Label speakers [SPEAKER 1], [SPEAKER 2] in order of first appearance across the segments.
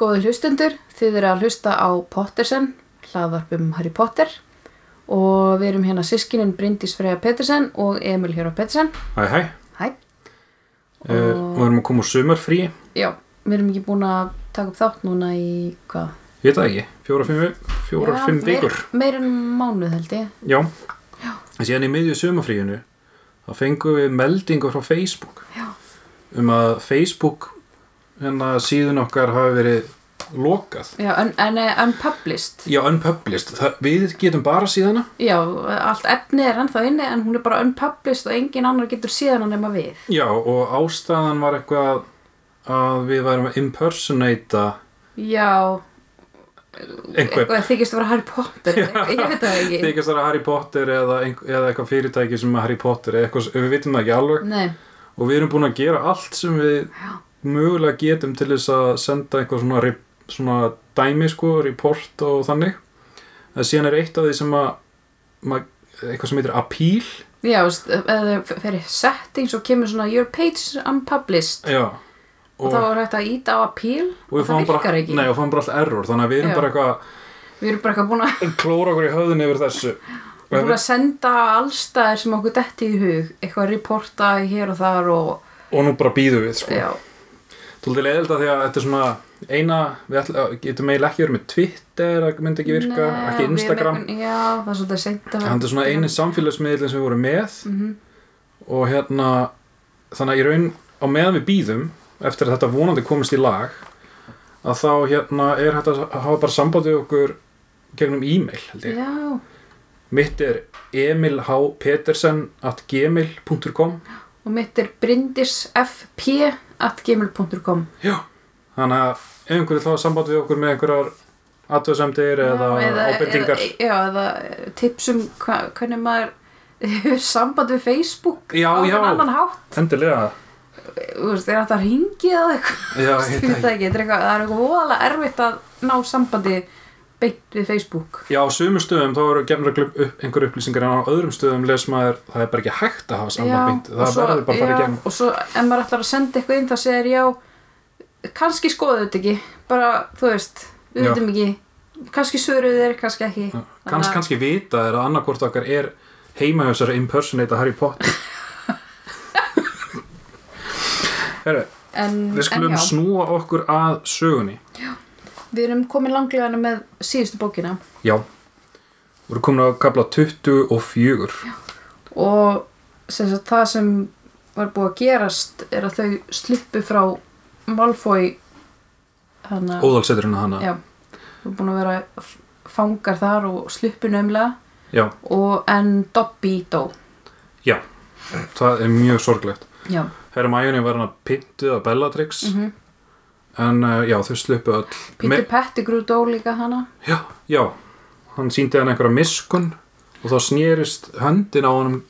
[SPEAKER 1] Góði hlustendur, þið eru að hlusta á Pottersen, hlaðvarp um Harry Potter og við erum hérna sískinin Bryndís Freyja Pettersen og Emil Hjóra Pettersen.
[SPEAKER 2] Hæ, hæ,
[SPEAKER 1] Hæ,
[SPEAKER 2] uh, við erum að koma úr sumarfrí,
[SPEAKER 1] já, við erum ekki búin að taka upp þátt núna í hvað?
[SPEAKER 2] ég veit það ekki, fjórar, fimm, fjórar,
[SPEAKER 1] Já,
[SPEAKER 2] fimm
[SPEAKER 1] meir-
[SPEAKER 2] vikur.
[SPEAKER 1] Meir en mánuð held ég.
[SPEAKER 2] Já, en síðan í miðju sumarfríinu, þá fengum við meldingu frá Facebook
[SPEAKER 1] Já.
[SPEAKER 2] um að Facebook, hérna síðun okkar hafi verið lokað.
[SPEAKER 1] Já, en, en eh, unpublished.
[SPEAKER 2] Já, unpublished, það, við getum bara síðana.
[SPEAKER 1] Já, allt efni er ennþá inni en hún er bara unpublished og engin annar getur síðan hann nema við.
[SPEAKER 2] Já, og ástæðan var eitthvað að við værum að impersonata
[SPEAKER 1] Já,
[SPEAKER 2] einhver.
[SPEAKER 1] eitthvað þykist að vera Harry Potter, ég veit það ekki.
[SPEAKER 2] Þykast það að Harry Potter eða, einhver- eða eitthvað fyrirtæki sem er Harry Potter eða eitthvað, við vitum það ekki alveg.
[SPEAKER 1] Nei,
[SPEAKER 2] og við erum búin að gera allt sem við
[SPEAKER 1] Já.
[SPEAKER 2] mögulega getum til þess að senda eitthvað svona, rep- svona dæmi sko, report og þannig en síðan er eitt af því sem að mað, eitthvað sem heitir appeal
[SPEAKER 1] já, þú veist, ef þau fyrir settings og kemur svona your page unpublished
[SPEAKER 2] já
[SPEAKER 1] og, þá er hægt að íta á appeal og, það
[SPEAKER 2] við fáum
[SPEAKER 1] virkar
[SPEAKER 2] bara,
[SPEAKER 1] ekki.
[SPEAKER 2] nei, og fáum bara alltaf error þannig að við erum
[SPEAKER 1] Já.
[SPEAKER 2] bara eitthvað
[SPEAKER 1] Við erum bara eitthvað búin að,
[SPEAKER 2] að klóra okkur í höðun yfir þessu Og ef
[SPEAKER 1] búin að senda allstaðir sem okkur detti í hug, eitthvað reporta hér og þar og,
[SPEAKER 2] við- og nú bara býðum við sko.
[SPEAKER 1] já,
[SPEAKER 2] Tóldi leiðild að því að þetta er svona eina, við ætla, getum eiginlega ekki verið með Twitter, það myndi ekki virka,
[SPEAKER 1] Nei,
[SPEAKER 2] ekki
[SPEAKER 1] við erum
[SPEAKER 2] Instagram.
[SPEAKER 1] einhvern- Já, það er svolítið seint að Mhm.
[SPEAKER 2] Þannig er svona eini samfélagsmiðlinn sem við vorum með og hérna þannig að í raun á meðan við býðum eftir að þetta vonandi komist í lag að þá hérna er hægt að hafa bara sambandið okkur gegnum e-mail held ég.
[SPEAKER 1] Já,
[SPEAKER 2] Mitt er emilhpetersen.gmail.com
[SPEAKER 1] og mitt er brindisfp.gmail.com
[SPEAKER 2] Já. Þannig að ef einhverju þá samband við okkur með einhverjar aðtöðsemdir eða, eða ábendingar.
[SPEAKER 1] eða, Já, eða tips um hva, hvernig maður hefur samband við Facebook
[SPEAKER 2] Já,
[SPEAKER 1] á
[SPEAKER 2] já.
[SPEAKER 1] einhvern annan hátt
[SPEAKER 2] Endilega.
[SPEAKER 1] Þú veist, er þetta að ringi eða eitthvað
[SPEAKER 2] Já,
[SPEAKER 1] Ég veit það ekki, þetta er eitthvað, það er eitthvað voðalega erfitt að ná sambandi beint við Facebook
[SPEAKER 2] Já, á sumum stöðum þá eru gefnir upp einhver upplýsingar en á öðrum stöðum les maður það er bara ekki hægt að hafa
[SPEAKER 1] Já,
[SPEAKER 2] samband beint
[SPEAKER 1] og
[SPEAKER 2] það
[SPEAKER 1] svo-
[SPEAKER 2] verður bara að fara í
[SPEAKER 1] já,
[SPEAKER 2] gegn
[SPEAKER 1] Og svo ef maður ætlar að senda eitthvað inn þá segir já, kannski skoðu þetta ekki bara, þú veist, við
[SPEAKER 2] Já.
[SPEAKER 1] veitum ekki kannski svöruðu þeir, kannski ekki
[SPEAKER 2] Kanns,
[SPEAKER 1] Þannig að-
[SPEAKER 2] kannski vita er að annarkvort okkar er heimahjósar impersonate Harry
[SPEAKER 1] Mm,
[SPEAKER 2] Potter Herru,
[SPEAKER 1] en,
[SPEAKER 2] við skulum
[SPEAKER 1] en já,
[SPEAKER 2] snúa okkur að sögunni
[SPEAKER 1] við erum komin langlega með síðustu bókina
[SPEAKER 2] Já, við erum komin að kapla 24
[SPEAKER 1] og sem sagt, það sem var búið að gerast er að þau sluppu frá Malfoy hana,
[SPEAKER 2] óðalseturinn hérna hana
[SPEAKER 1] já, þau eru búin að vera f- fangar þar og sluppu nömlega
[SPEAKER 2] Já,
[SPEAKER 1] og en Dobby dó
[SPEAKER 2] já, það er mjög sorglegt
[SPEAKER 1] já,
[SPEAKER 2] Hermione var hann að pyntuð að Bellatrix
[SPEAKER 1] Mhm.
[SPEAKER 2] en uh, já, þau sluppu öll Me-
[SPEAKER 1] Peter Pettigrew dó líka hana
[SPEAKER 2] Já, já, hann síndi hann einhverja miskun og þá snýrist höndin á honum,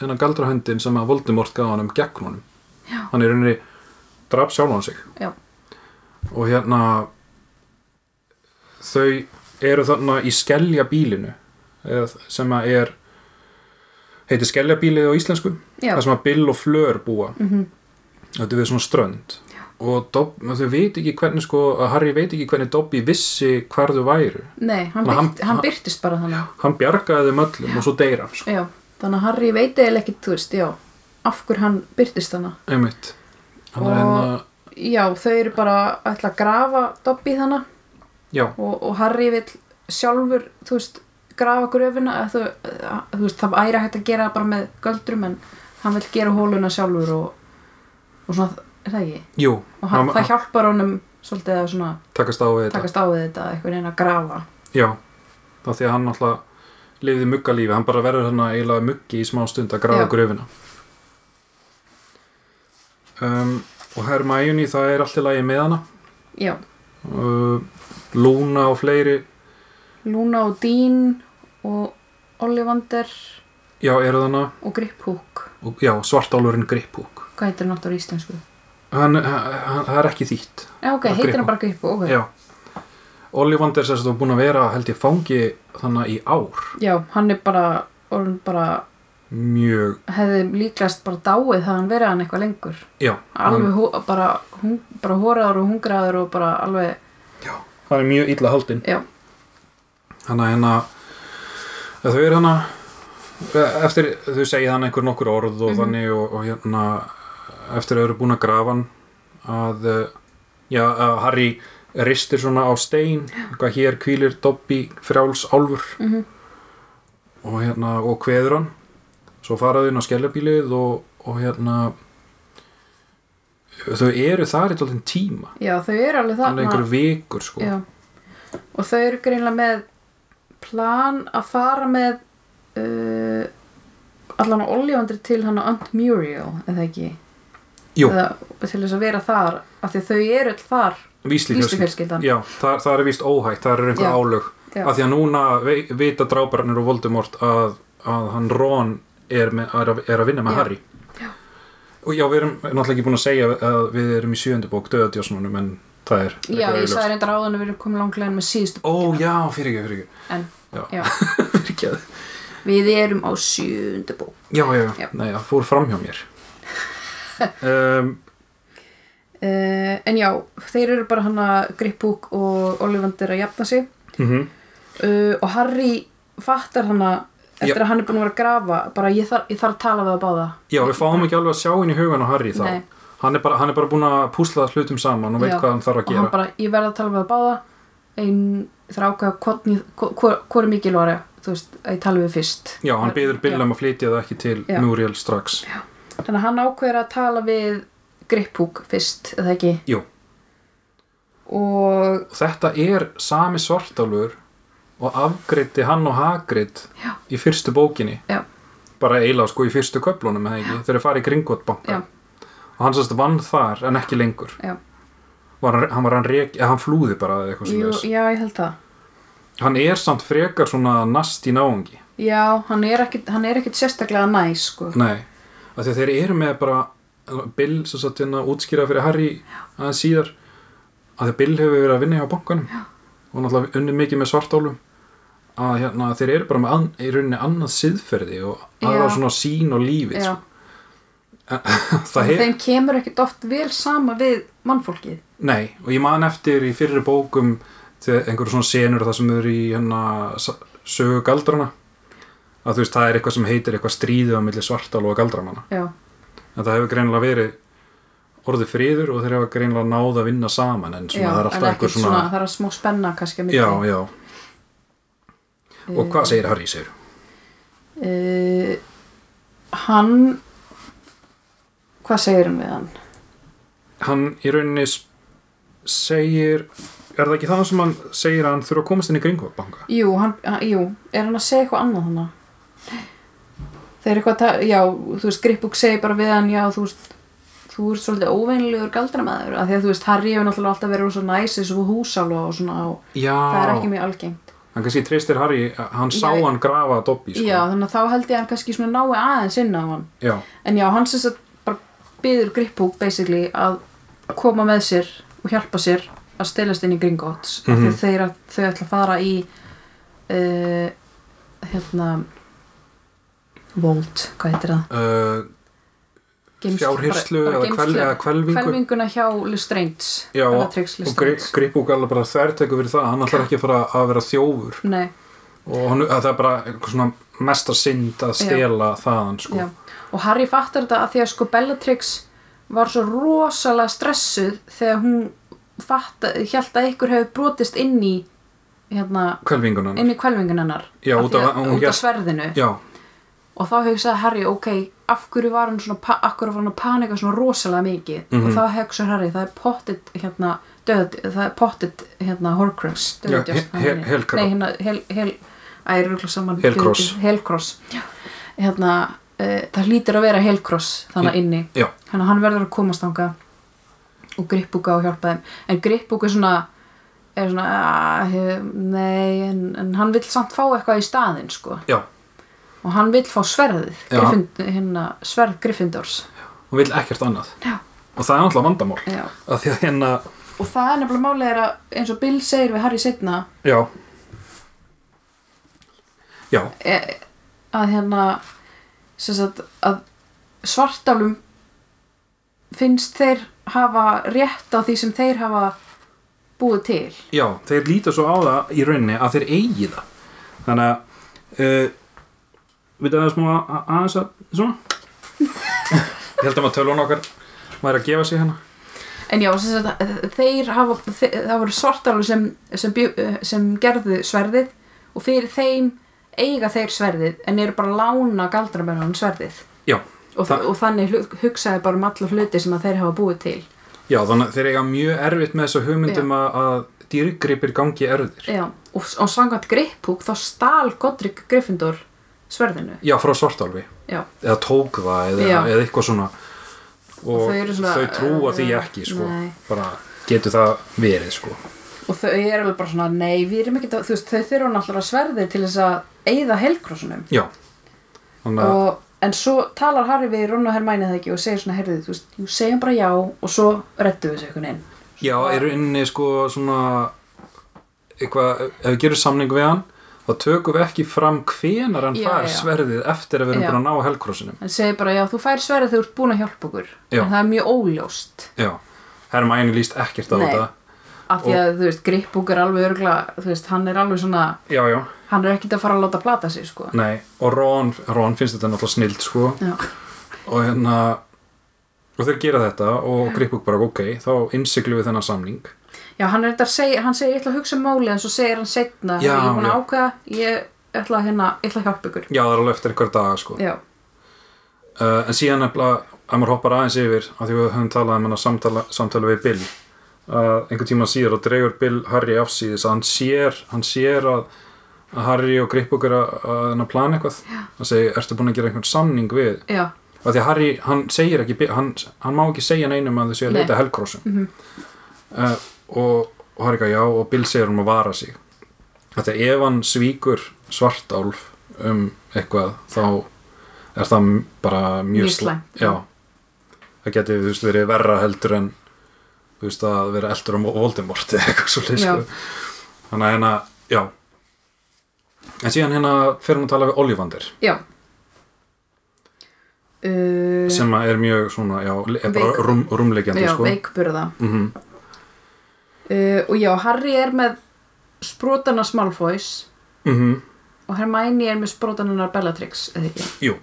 [SPEAKER 2] hennan galdra höndin sem að Voldemort gaf honum gegn honum.
[SPEAKER 1] Já.
[SPEAKER 2] Hann er rauninni draf sjálfan sig
[SPEAKER 1] já,
[SPEAKER 2] og hérna þau eru þarna í skellja bílinu sem að er heitir skellja bílið á íslensku
[SPEAKER 1] já,
[SPEAKER 2] það sem að Bill og Fleur búa
[SPEAKER 1] Mhm.
[SPEAKER 2] þetta er við svona strönd Já. og Dob, þau veit ekki hvernig sko, að Harry veit ekki hvernig Dobby vissi hvar þau væru
[SPEAKER 1] nei, hann,
[SPEAKER 2] Hann-
[SPEAKER 1] byrt, hann byrtist bara þannig
[SPEAKER 2] hann bjargaði þeim öllum og svo deyra hann sko.
[SPEAKER 1] já, þannig að Harry veit eða ekki, þú veist, já af hver hann byrtist hana
[SPEAKER 2] einmitt hann
[SPEAKER 1] Og-
[SPEAKER 2] er hérna- enn að
[SPEAKER 1] já, þau eru bara að ætla að grafa Dobby þannig
[SPEAKER 2] já,
[SPEAKER 1] og, og Harry vill sjálfur þú veist, grafa gröfuna að þú, að, þú veist, það æra hægt að gera bara með göldrum en hann vill gera hóluna sjálfur og, og svona, er það ekki?
[SPEAKER 2] jú,
[SPEAKER 1] og hann,
[SPEAKER 2] Hann-
[SPEAKER 1] það hjálpar honum svolítið að svona
[SPEAKER 2] takast á við þetta
[SPEAKER 1] takast á við þetta, eitthvað neina að grafa
[SPEAKER 2] já, þá því að hann alltaf lifði muggalífi, hann bara verður hann eiginlega muggi í smá stund að
[SPEAKER 1] Já.
[SPEAKER 2] grafa gröfina um, og Hermione það er allt í lagi með hana
[SPEAKER 1] já,
[SPEAKER 2] uh, Luna og fleiri
[SPEAKER 1] Luna og Dean og Ollivander
[SPEAKER 2] já, eru þarna
[SPEAKER 1] og Griphook
[SPEAKER 2] og, já, svartálurinn Griphook
[SPEAKER 1] hvað heitir hann áttur í íslensku?
[SPEAKER 2] hann, hann, hann, það er ekki þýtt
[SPEAKER 1] já, ok,
[SPEAKER 2] Já,
[SPEAKER 1] heitir
[SPEAKER 2] Griphook.
[SPEAKER 1] hann bara Griphook, ok
[SPEAKER 2] Já. Ollivander sem þú búin að vera held ég fangi þannig í ár
[SPEAKER 1] já, hann er bara, orðin bara
[SPEAKER 2] mjög,
[SPEAKER 1] hefði líklast bara dáið það hann verið hann eitthvað lengur
[SPEAKER 2] já
[SPEAKER 1] alveg hú, bara, hún, bara hóraður og hungraður og bara alveg
[SPEAKER 2] hann er mjög illa haldinn
[SPEAKER 1] Já.
[SPEAKER 2] þannig að hérna að þau eru hana eftir þau segja hann einhver nokkur orð og
[SPEAKER 1] Mhm.
[SPEAKER 2] þannig og, og hérna eftir þau eru búin að grafa hann að eh, já, að Harry ristir svona á stein hvað hér hvílir Dobby frjáls álfur
[SPEAKER 1] mhm,
[SPEAKER 2] og hérna og kveður hann svo faraðu inn á skellabílið og, og hérna þau eru þar í tóttin tíma
[SPEAKER 1] já, þau eru alveg
[SPEAKER 2] alveg
[SPEAKER 1] þarna
[SPEAKER 2] einhverju vikur sko
[SPEAKER 1] já. og þau eru greinlega með plan að fara með uh, allan á oljavandri til hann á Aunt Muriel eða ekki
[SPEAKER 2] Jú.
[SPEAKER 1] eða, til þess að vera þar af því að þau eru öll þar
[SPEAKER 2] víslifjörskil
[SPEAKER 1] víslufjölskyldan
[SPEAKER 2] Já, það, það er víst óhætt, það eru einhver
[SPEAKER 1] Já.
[SPEAKER 2] álög
[SPEAKER 1] Já.
[SPEAKER 2] af því að núna vei- vita drábarnir og Voldemort að, að hann Ron er, með, er, að, er að vinna með
[SPEAKER 1] Já.
[SPEAKER 2] Harry
[SPEAKER 1] Já.
[SPEAKER 2] og já, við erum náttúrulega ekki búin að segja að við erum í sjöundu bók döðadjósnunum en það er
[SPEAKER 1] já,
[SPEAKER 2] eitthvað
[SPEAKER 1] ég
[SPEAKER 2] augljóst.
[SPEAKER 1] sagði reynda ráðan að við erum komið langlega með síðustu
[SPEAKER 2] Ó, já, fyrir ekki, fyrir ekki
[SPEAKER 1] en
[SPEAKER 2] Já,
[SPEAKER 1] já,
[SPEAKER 2] fyrir ekki
[SPEAKER 1] við erum á sjöndu bók
[SPEAKER 2] Já, já, já,
[SPEAKER 1] Já.
[SPEAKER 2] nei, það fór fram hjá mér um,
[SPEAKER 1] uh, en já, þeir eru bara hann að Gripbúk og Ollivander að jafna sig
[SPEAKER 2] mm
[SPEAKER 1] uh, og Harry fattar hann að eftir
[SPEAKER 2] Já.
[SPEAKER 1] að hann er búin að vera að grafa bara ég þarf, ég þarf að tala við það báða
[SPEAKER 2] Já, við fáum ekki alveg að sjá inn í hugan á Harry þá
[SPEAKER 1] Nei.
[SPEAKER 2] hann er, bara, hann er bara búin að púsla hlutum saman og veit
[SPEAKER 1] Já.
[SPEAKER 2] hvað hann þarf að
[SPEAKER 1] og
[SPEAKER 2] gera
[SPEAKER 1] hann bara, ég verð að tala við það báða ein þarf að ákveða hvorn ég- hvor- hvor hvor er mikilværi þú veist, að ég tala við fyrst
[SPEAKER 2] Já, hann byður Bill
[SPEAKER 1] Já.
[SPEAKER 2] um að flytja það ekki til
[SPEAKER 1] Já.
[SPEAKER 2] Muriel strax
[SPEAKER 1] þannig að hann ákveður að tala við Gripbúk fyrst, eða ekki
[SPEAKER 2] Jú,
[SPEAKER 1] og
[SPEAKER 2] og þetta er sami svartálfur og afgreiddi hann og Hagrid
[SPEAKER 1] Já.
[SPEAKER 2] í fyrstu bókinni
[SPEAKER 1] já,
[SPEAKER 2] bara eiginlega sko í fyrstu köflunum eða ekki, þegar þeir farið í Gringott banka
[SPEAKER 1] já,
[SPEAKER 2] og hann sérst vann þar en ekki lengur
[SPEAKER 1] já
[SPEAKER 2] var hann, hann, var hann, rek, eða hann flúði bara eða eitthvað
[SPEAKER 1] Jú,
[SPEAKER 2] sem
[SPEAKER 1] já, ég held það
[SPEAKER 2] hann er samt frekar svona nast í náungi
[SPEAKER 1] já, hann er ekkit, hann er ekkit sérstaklega næs sko.
[SPEAKER 2] Nei, af því að þeir eru með bara Bill sem satt hérna útskýra fyrir Harry aðeins síðar af því að Bill hefur verið að vinna hjá bankanum Já. og náttúrulega unni mikið með svartálum að hérna, þeir eru bara með an, í rauninni annað siðferði og aðra
[SPEAKER 1] Já.
[SPEAKER 2] svona sín og lífið
[SPEAKER 1] já,
[SPEAKER 2] sko. það hef,
[SPEAKER 1] þeim kemur ekkit oft vel sama við mannfólkið
[SPEAKER 2] Nei, og ég man eftir í fyrri bókum þegar einhverju svona senur það sem þau eru í hérna, sa- sögu galdrana að þú veist, það er eitthvað sem heitir eitthvað stríðu á milli svartál og galdramana
[SPEAKER 1] já,
[SPEAKER 2] en það hefur greinilega verið orðið friður og þeir hafa greinilega náð að vinna saman en svona
[SPEAKER 1] já,
[SPEAKER 2] það
[SPEAKER 1] en
[SPEAKER 2] er alltaf
[SPEAKER 1] ekkert
[SPEAKER 2] einhver
[SPEAKER 1] svona,
[SPEAKER 2] svona,
[SPEAKER 1] það er að smá spenna kannski að
[SPEAKER 2] já, já, og
[SPEAKER 1] Eh.
[SPEAKER 2] hvað segir Harry segir?
[SPEAKER 1] uh, hann hvað segir hann við hann
[SPEAKER 2] hann í rauninni s- segir er það ekki það sem hann segir að hann þurfa að komast inn í Gringvabanka?
[SPEAKER 1] jú, hann, hann, jú, er hann að segja eitthvað annað hann þeir eru eitthvað að ta- já, þú veist, Gripbúk segir bara við hann já, þú veist þú ert svolítið óveinlegur galdramæður af því að þú veist, Harry hefur náttúrulega alltaf verið svo næsis og húsálu og svona og
[SPEAKER 2] Já,
[SPEAKER 1] það er ekki mjög algengt
[SPEAKER 2] hann kannski treystir Harry að hann sá
[SPEAKER 1] Já.
[SPEAKER 2] hann grafa að Dobby sko.
[SPEAKER 1] já, þannig að þá held ég að hann kannski svona nái aðeins inn á hann
[SPEAKER 2] já,
[SPEAKER 1] En já, hann sem sagt bara byður Gripphúk basically að koma með sér og hjálpa sér að stelast inn í Gringotts mm
[SPEAKER 2] Mhm.
[SPEAKER 1] -hmm. þegar þau ætla að fara í uh, hérna Volt, hvað heitir það?
[SPEAKER 2] uh,
[SPEAKER 1] Geymslu-
[SPEAKER 2] fjárhyrslu
[SPEAKER 1] bara- bara
[SPEAKER 2] eða,
[SPEAKER 1] geymslu-
[SPEAKER 2] kvel, eða kvelvingu
[SPEAKER 1] Hvelvinguna hjá Lestrange
[SPEAKER 2] já,
[SPEAKER 1] eða
[SPEAKER 2] og,
[SPEAKER 1] Trix
[SPEAKER 2] og gri,
[SPEAKER 1] Lestrange
[SPEAKER 2] Gripúk alveg bara þærtekur fyrir það hann ætlar ekki að fara að vera þjófur
[SPEAKER 1] Nei,
[SPEAKER 2] og hann, að það er bara eitthvað svona mesta synd að stela þaðan sko.
[SPEAKER 1] já. Og Harry fattar þetta að því að sko Bellatrix var svo rosalega stressuð þegar hún fatta, held að ykkur hefur brotist inn í hérna
[SPEAKER 2] kvelvingunan
[SPEAKER 1] inn í kvelvingun hennar
[SPEAKER 2] Já,
[SPEAKER 1] Af
[SPEAKER 2] út
[SPEAKER 1] því
[SPEAKER 2] af-
[SPEAKER 1] að-
[SPEAKER 2] hún
[SPEAKER 1] út af
[SPEAKER 2] hélt-
[SPEAKER 1] sverðinu
[SPEAKER 2] já,
[SPEAKER 1] og þá hugsaði Harry, ok, af hverju var hann svona, pa- af hverju var hann að panika svona rosalega mikið
[SPEAKER 2] Mhm.
[SPEAKER 1] og þá hugsaði Harry, það er pottit hérna, döð, það er pottit hérna, Horcrux,
[SPEAKER 2] Já,
[SPEAKER 1] döðdjöfn
[SPEAKER 2] he- he- Helcro.
[SPEAKER 1] nei, hérna, hel, hel æ, ég rugla saman
[SPEAKER 2] Helcross.
[SPEAKER 1] Helcross. Já. hérna, uh, það hlýtir að vera Helcross þannig
[SPEAKER 2] Í-
[SPEAKER 1] inni
[SPEAKER 2] já,
[SPEAKER 1] þannig að hann verður að komast ánga og grippbúka og hjálpa þeim en grippbúka er svona er svona, "Ah, he- nei en, en hann vill samt fá eitthvað í staðinn sko.
[SPEAKER 2] já
[SPEAKER 1] og hann vill fá sverðið
[SPEAKER 2] Já.
[SPEAKER 1] Griffin, hérna, sverð Gryffindors
[SPEAKER 2] hún vil ekkert annað
[SPEAKER 1] Já.
[SPEAKER 2] og það er náttúrulega vandamál
[SPEAKER 1] Já.
[SPEAKER 2] að því að hérna,
[SPEAKER 1] og það er nefnilega málið er að eins og Bill segir við Harry setna
[SPEAKER 2] já já,
[SPEAKER 1] e- að hérna sem sagt að svartálum finnst þeir hafa rétt á því sem þeir hafa búið til
[SPEAKER 2] já, þeir líta svo á það í rauninni að þeir eigi það þannig að uh, við það er smá að- að- aðeins að svona ég held að maður tölun okkar maður er að gefa sig hérna
[SPEAKER 1] En já, sem sagt, þeir hafa, þe það voru svartalur sem, sem, bjó, sem gerðu sverðið og fyrir þeim eiga þeir sverðið en eru bara að lána galdramennunum sverðið
[SPEAKER 2] já,
[SPEAKER 1] og,
[SPEAKER 2] Það-
[SPEAKER 1] og þannig hu- hugsaði bara um alla hluti sem að þeir hafa búið til.
[SPEAKER 2] já, þannig að þeir eiga mjög erfitt með þessu hugmyndum að, að dýrgripir gangi erfðir
[SPEAKER 1] Já, og, og samkvæmt grippúk þá stál Godric Gryffindor sverðinu.
[SPEAKER 2] já, frá svartálfi
[SPEAKER 1] Já,
[SPEAKER 2] eða tók það eða,
[SPEAKER 1] Já.
[SPEAKER 2] eða eitthvað svona og,
[SPEAKER 1] Og þau
[SPEAKER 2] þau,
[SPEAKER 1] eru svona,
[SPEAKER 2] trúa
[SPEAKER 1] eh,
[SPEAKER 2] því ekki sko.
[SPEAKER 1] nei.
[SPEAKER 2] bara getur það verið sko.
[SPEAKER 1] og þau eru alveg bara svona, nei, við erum ekki, þú veist, þau þurfa náttúrulega sverðið til þess að eigða helgrósunum.
[SPEAKER 2] já þannig að
[SPEAKER 1] og, en svo talar Harry við Ron og Hermæni það ekki og segir svona, heyrðu, þú veist, jú, segjum bara já og svo rettum við þessu einhvern veginn
[SPEAKER 2] já, eru inni sko svona eitthvað, ef við gerum samning við hann þá tökum við ekki fram hvenar hann
[SPEAKER 1] Já,
[SPEAKER 2] fær
[SPEAKER 1] já.
[SPEAKER 2] sverðið eftir að við erum
[SPEAKER 1] Já.
[SPEAKER 2] búin að ná helgrósinum
[SPEAKER 1] en segir bara, já, þú fær sverið þegar þú ert búin að hjálpa okkur
[SPEAKER 2] Já.
[SPEAKER 1] en það er mjög óljóst
[SPEAKER 2] já, Hermæni líst ekkert á
[SPEAKER 1] Nei.
[SPEAKER 2] þetta
[SPEAKER 1] af því að, þú veist, Grippbúk er alveg örgla þú veist, hann er alveg svona
[SPEAKER 2] já, já,
[SPEAKER 1] hann er ekkert að fara að láta plata sig, sko
[SPEAKER 2] nei og Ron, Ron finnst þetta náttúrulega snild sko
[SPEAKER 1] já,
[SPEAKER 2] og hérna og þeir gera þetta og Gripuk bara ok þá innsiklum við þennan samning
[SPEAKER 1] já hann er þetta að segja, hann segir, ég ætla að hugsa um málið en svo segir hann setna,
[SPEAKER 2] Já,
[SPEAKER 1] ég er búin
[SPEAKER 2] já.
[SPEAKER 1] að ákveða ég ætla að, hérna, ég ætla að hjálpa ykkur
[SPEAKER 2] Já, það er alveg eftir einhver dag sko.
[SPEAKER 1] já,
[SPEAKER 2] uh, En síðan nefnilega, ef maður hoppar aðeins yfir af því við höfum talað um hann að samtala, samtala við Bill uh, einhvern tíma síðar og dregur Bill Harry afsýðis að hann sér, hann sér að, að Harry og Gripuk er að, að, að plana eitthvað hann segir, ertu búin að gera einhvern samning við
[SPEAKER 1] já,
[SPEAKER 2] af því að Harry, hann segir ekki Bill- hann, hann má ekki segja neinum að þau séu að
[SPEAKER 1] Nei.
[SPEAKER 2] leita helgrósum mm
[SPEAKER 1] mhm,
[SPEAKER 2] Eh, og, og Harry gaf já og Bill segir hann að vara sig af því að ef hann svíkur svartálf um eitthvað þá er það m- bara mjög,
[SPEAKER 1] Mjög slæmt.
[SPEAKER 2] já það geti þú veist verið verra heldur en þú veist að vera eldur um Voldemort eða eitthvað svo leið
[SPEAKER 1] Já.
[SPEAKER 2] sko. þannig að hérna, já en síðan hérna fer hann að tala við Ollivander
[SPEAKER 1] já Uh,
[SPEAKER 2] sem að er mjög svona, já, er
[SPEAKER 1] Veik.
[SPEAKER 2] bara rúm, rúmleikjandi
[SPEAKER 1] já,
[SPEAKER 2] sko.
[SPEAKER 1] veikburða
[SPEAKER 2] mm
[SPEAKER 1] Uh, og já, Harry er með sprótana Smallfoys
[SPEAKER 2] -hmm.
[SPEAKER 1] og Hermione er með sprótana Bellatrix, eða ekki?
[SPEAKER 2] Jú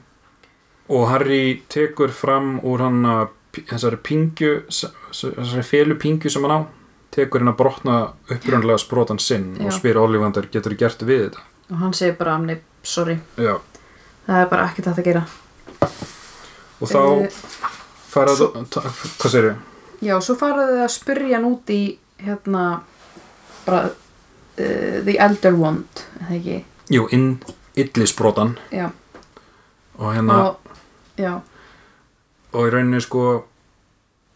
[SPEAKER 2] Og Harry tekur fram úr hann að p- þessari pingju s- s- þessari felu pingju sem hann á tekur hann að brotna upprunlega sprotan sinn
[SPEAKER 1] Já.
[SPEAKER 2] og spyr Ollivander getur gert við þetta
[SPEAKER 1] Og hann segir bara, nei, sorry,
[SPEAKER 2] Já.
[SPEAKER 1] það er bara ekkert hægt að gera.
[SPEAKER 2] og þá
[SPEAKER 1] Uh,
[SPEAKER 2] fara
[SPEAKER 1] svo-
[SPEAKER 2] þú ta- hvað segir þau?
[SPEAKER 1] já, svo faraðu þau að spyrja hann út í, hérna, bara, uh, The Elder Wand, eða ekki?
[SPEAKER 2] Jú, inn illisbrotan
[SPEAKER 1] Já,
[SPEAKER 2] og hérna
[SPEAKER 1] og, já,
[SPEAKER 2] og í rauninu sko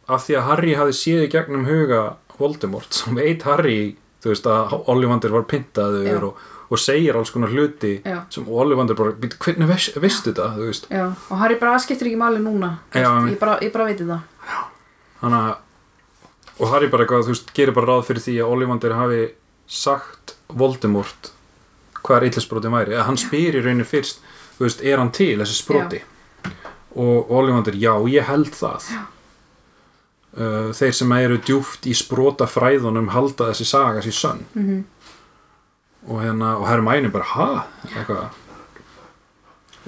[SPEAKER 2] að því að Harry hafi séð í gegnum huga Voldemort, sem veit Harry þú veist að Ollivander var
[SPEAKER 1] Já.
[SPEAKER 2] pyntaður og, og segir alls konar hluti
[SPEAKER 1] Já.
[SPEAKER 2] sem Ollivander bara, "Bíddu, hvernig veist, veistu þetta þú veist,
[SPEAKER 1] já, og Harry bara aðskiptir ekki máli núna,
[SPEAKER 2] Já,
[SPEAKER 1] Þú veist,
[SPEAKER 2] einmitt.
[SPEAKER 1] ég bara, ég bara veit það.
[SPEAKER 2] hann að og Harry bara eitthvað, þú veist, gerir bara ráð fyrir því að Ollivander hafi sagt Voldemort hvað er illisbrotin væri, eða hann spyr í rauninu fyrst þú veist, er hann til þessi sproti og Ollivander, já, ég held það já. þeir sem eru djúft í sprota fræðunum halda þessi saga sér sönn
[SPEAKER 1] Mm
[SPEAKER 2] og, hérna, og Hermæni bara, ha? Eitthvað.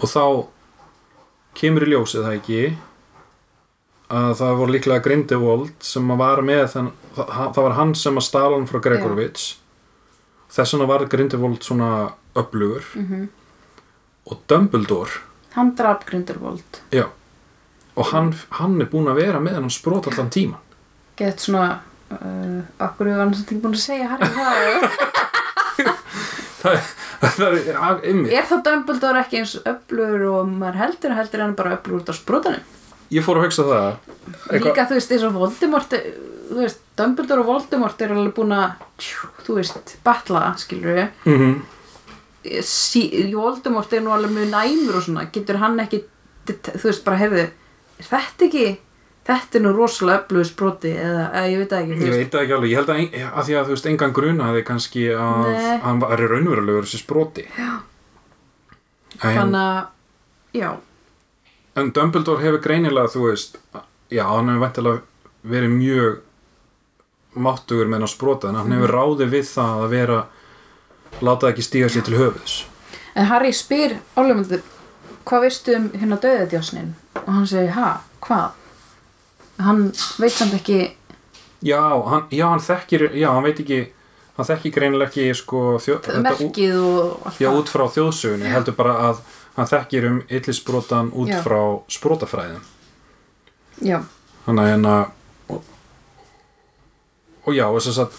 [SPEAKER 2] og þá kemur í ljósið það ekki að það voru líklega Grindelwald sem að var með þann, það, það var hann sem að stala hann frá Gregorovits þess vegna var Grindelwald svona upplugur
[SPEAKER 1] Mhm.
[SPEAKER 2] og Dumbledore
[SPEAKER 1] Hann draf Grindelwald,
[SPEAKER 2] já, og hann, hann er búin að vera með hann sprota allan tíman
[SPEAKER 1] gett svona, uh, akkur við varum samt ekki búin að segja Harry það.
[SPEAKER 2] það, það er af ymmið
[SPEAKER 1] Er þá Dumbledore ekki eins öflugur og maður heldur heldur hann bara öflugur út á sprótanum?
[SPEAKER 2] ég fór að hugsa það
[SPEAKER 1] Líka þú veist eins og Voldemort, eh, þú veist, Dumbledore og Voldemort eru alveg búin að, tjú, þú veist, batla, skilur við.
[SPEAKER 2] mm -hmm.
[SPEAKER 1] Sí, Voldemort er nú alveg mjög næmur og svona, getur hann ekki, þú veist, bara heyrðu, er þetta ekki, þetta er nú rosalega öflugur spróti eða, eða ég veit það ekki,
[SPEAKER 2] Ég
[SPEAKER 1] þú veist.
[SPEAKER 2] veit það ekki alveg, ég held að, ein, að því að þú veist engan grunaði kannski að
[SPEAKER 1] Nei.
[SPEAKER 2] hann var raunverulegur þessi sproti en,
[SPEAKER 1] Þannig að, já,
[SPEAKER 2] en Dumbledore hefur greinilega þú veist, já hann hefur vantilega verið mjög máttugur með hann að sprota en hann
[SPEAKER 1] Mhm.
[SPEAKER 2] hefur ráði við það að vera láta það ekki stíga sér til höfuðs
[SPEAKER 1] En Harry spyr Ólimandur hvað veistu um hérna döðadjásnin og hann segir, ha, hvað? Hann veit samt ekki
[SPEAKER 2] já, hann, já, hann þekkir já, hann veit ekki, hann þekkir greinilega ekki sko, þjó, þetta ú-
[SPEAKER 1] merkið og allt
[SPEAKER 2] já,
[SPEAKER 1] það.
[SPEAKER 2] út frá þjóðsögunni heldur bara að hann þekkir um illisbrotan út
[SPEAKER 1] Já.
[SPEAKER 2] frá sprotafræðin
[SPEAKER 1] Já,
[SPEAKER 2] þannig að hérna og, og já, og þess að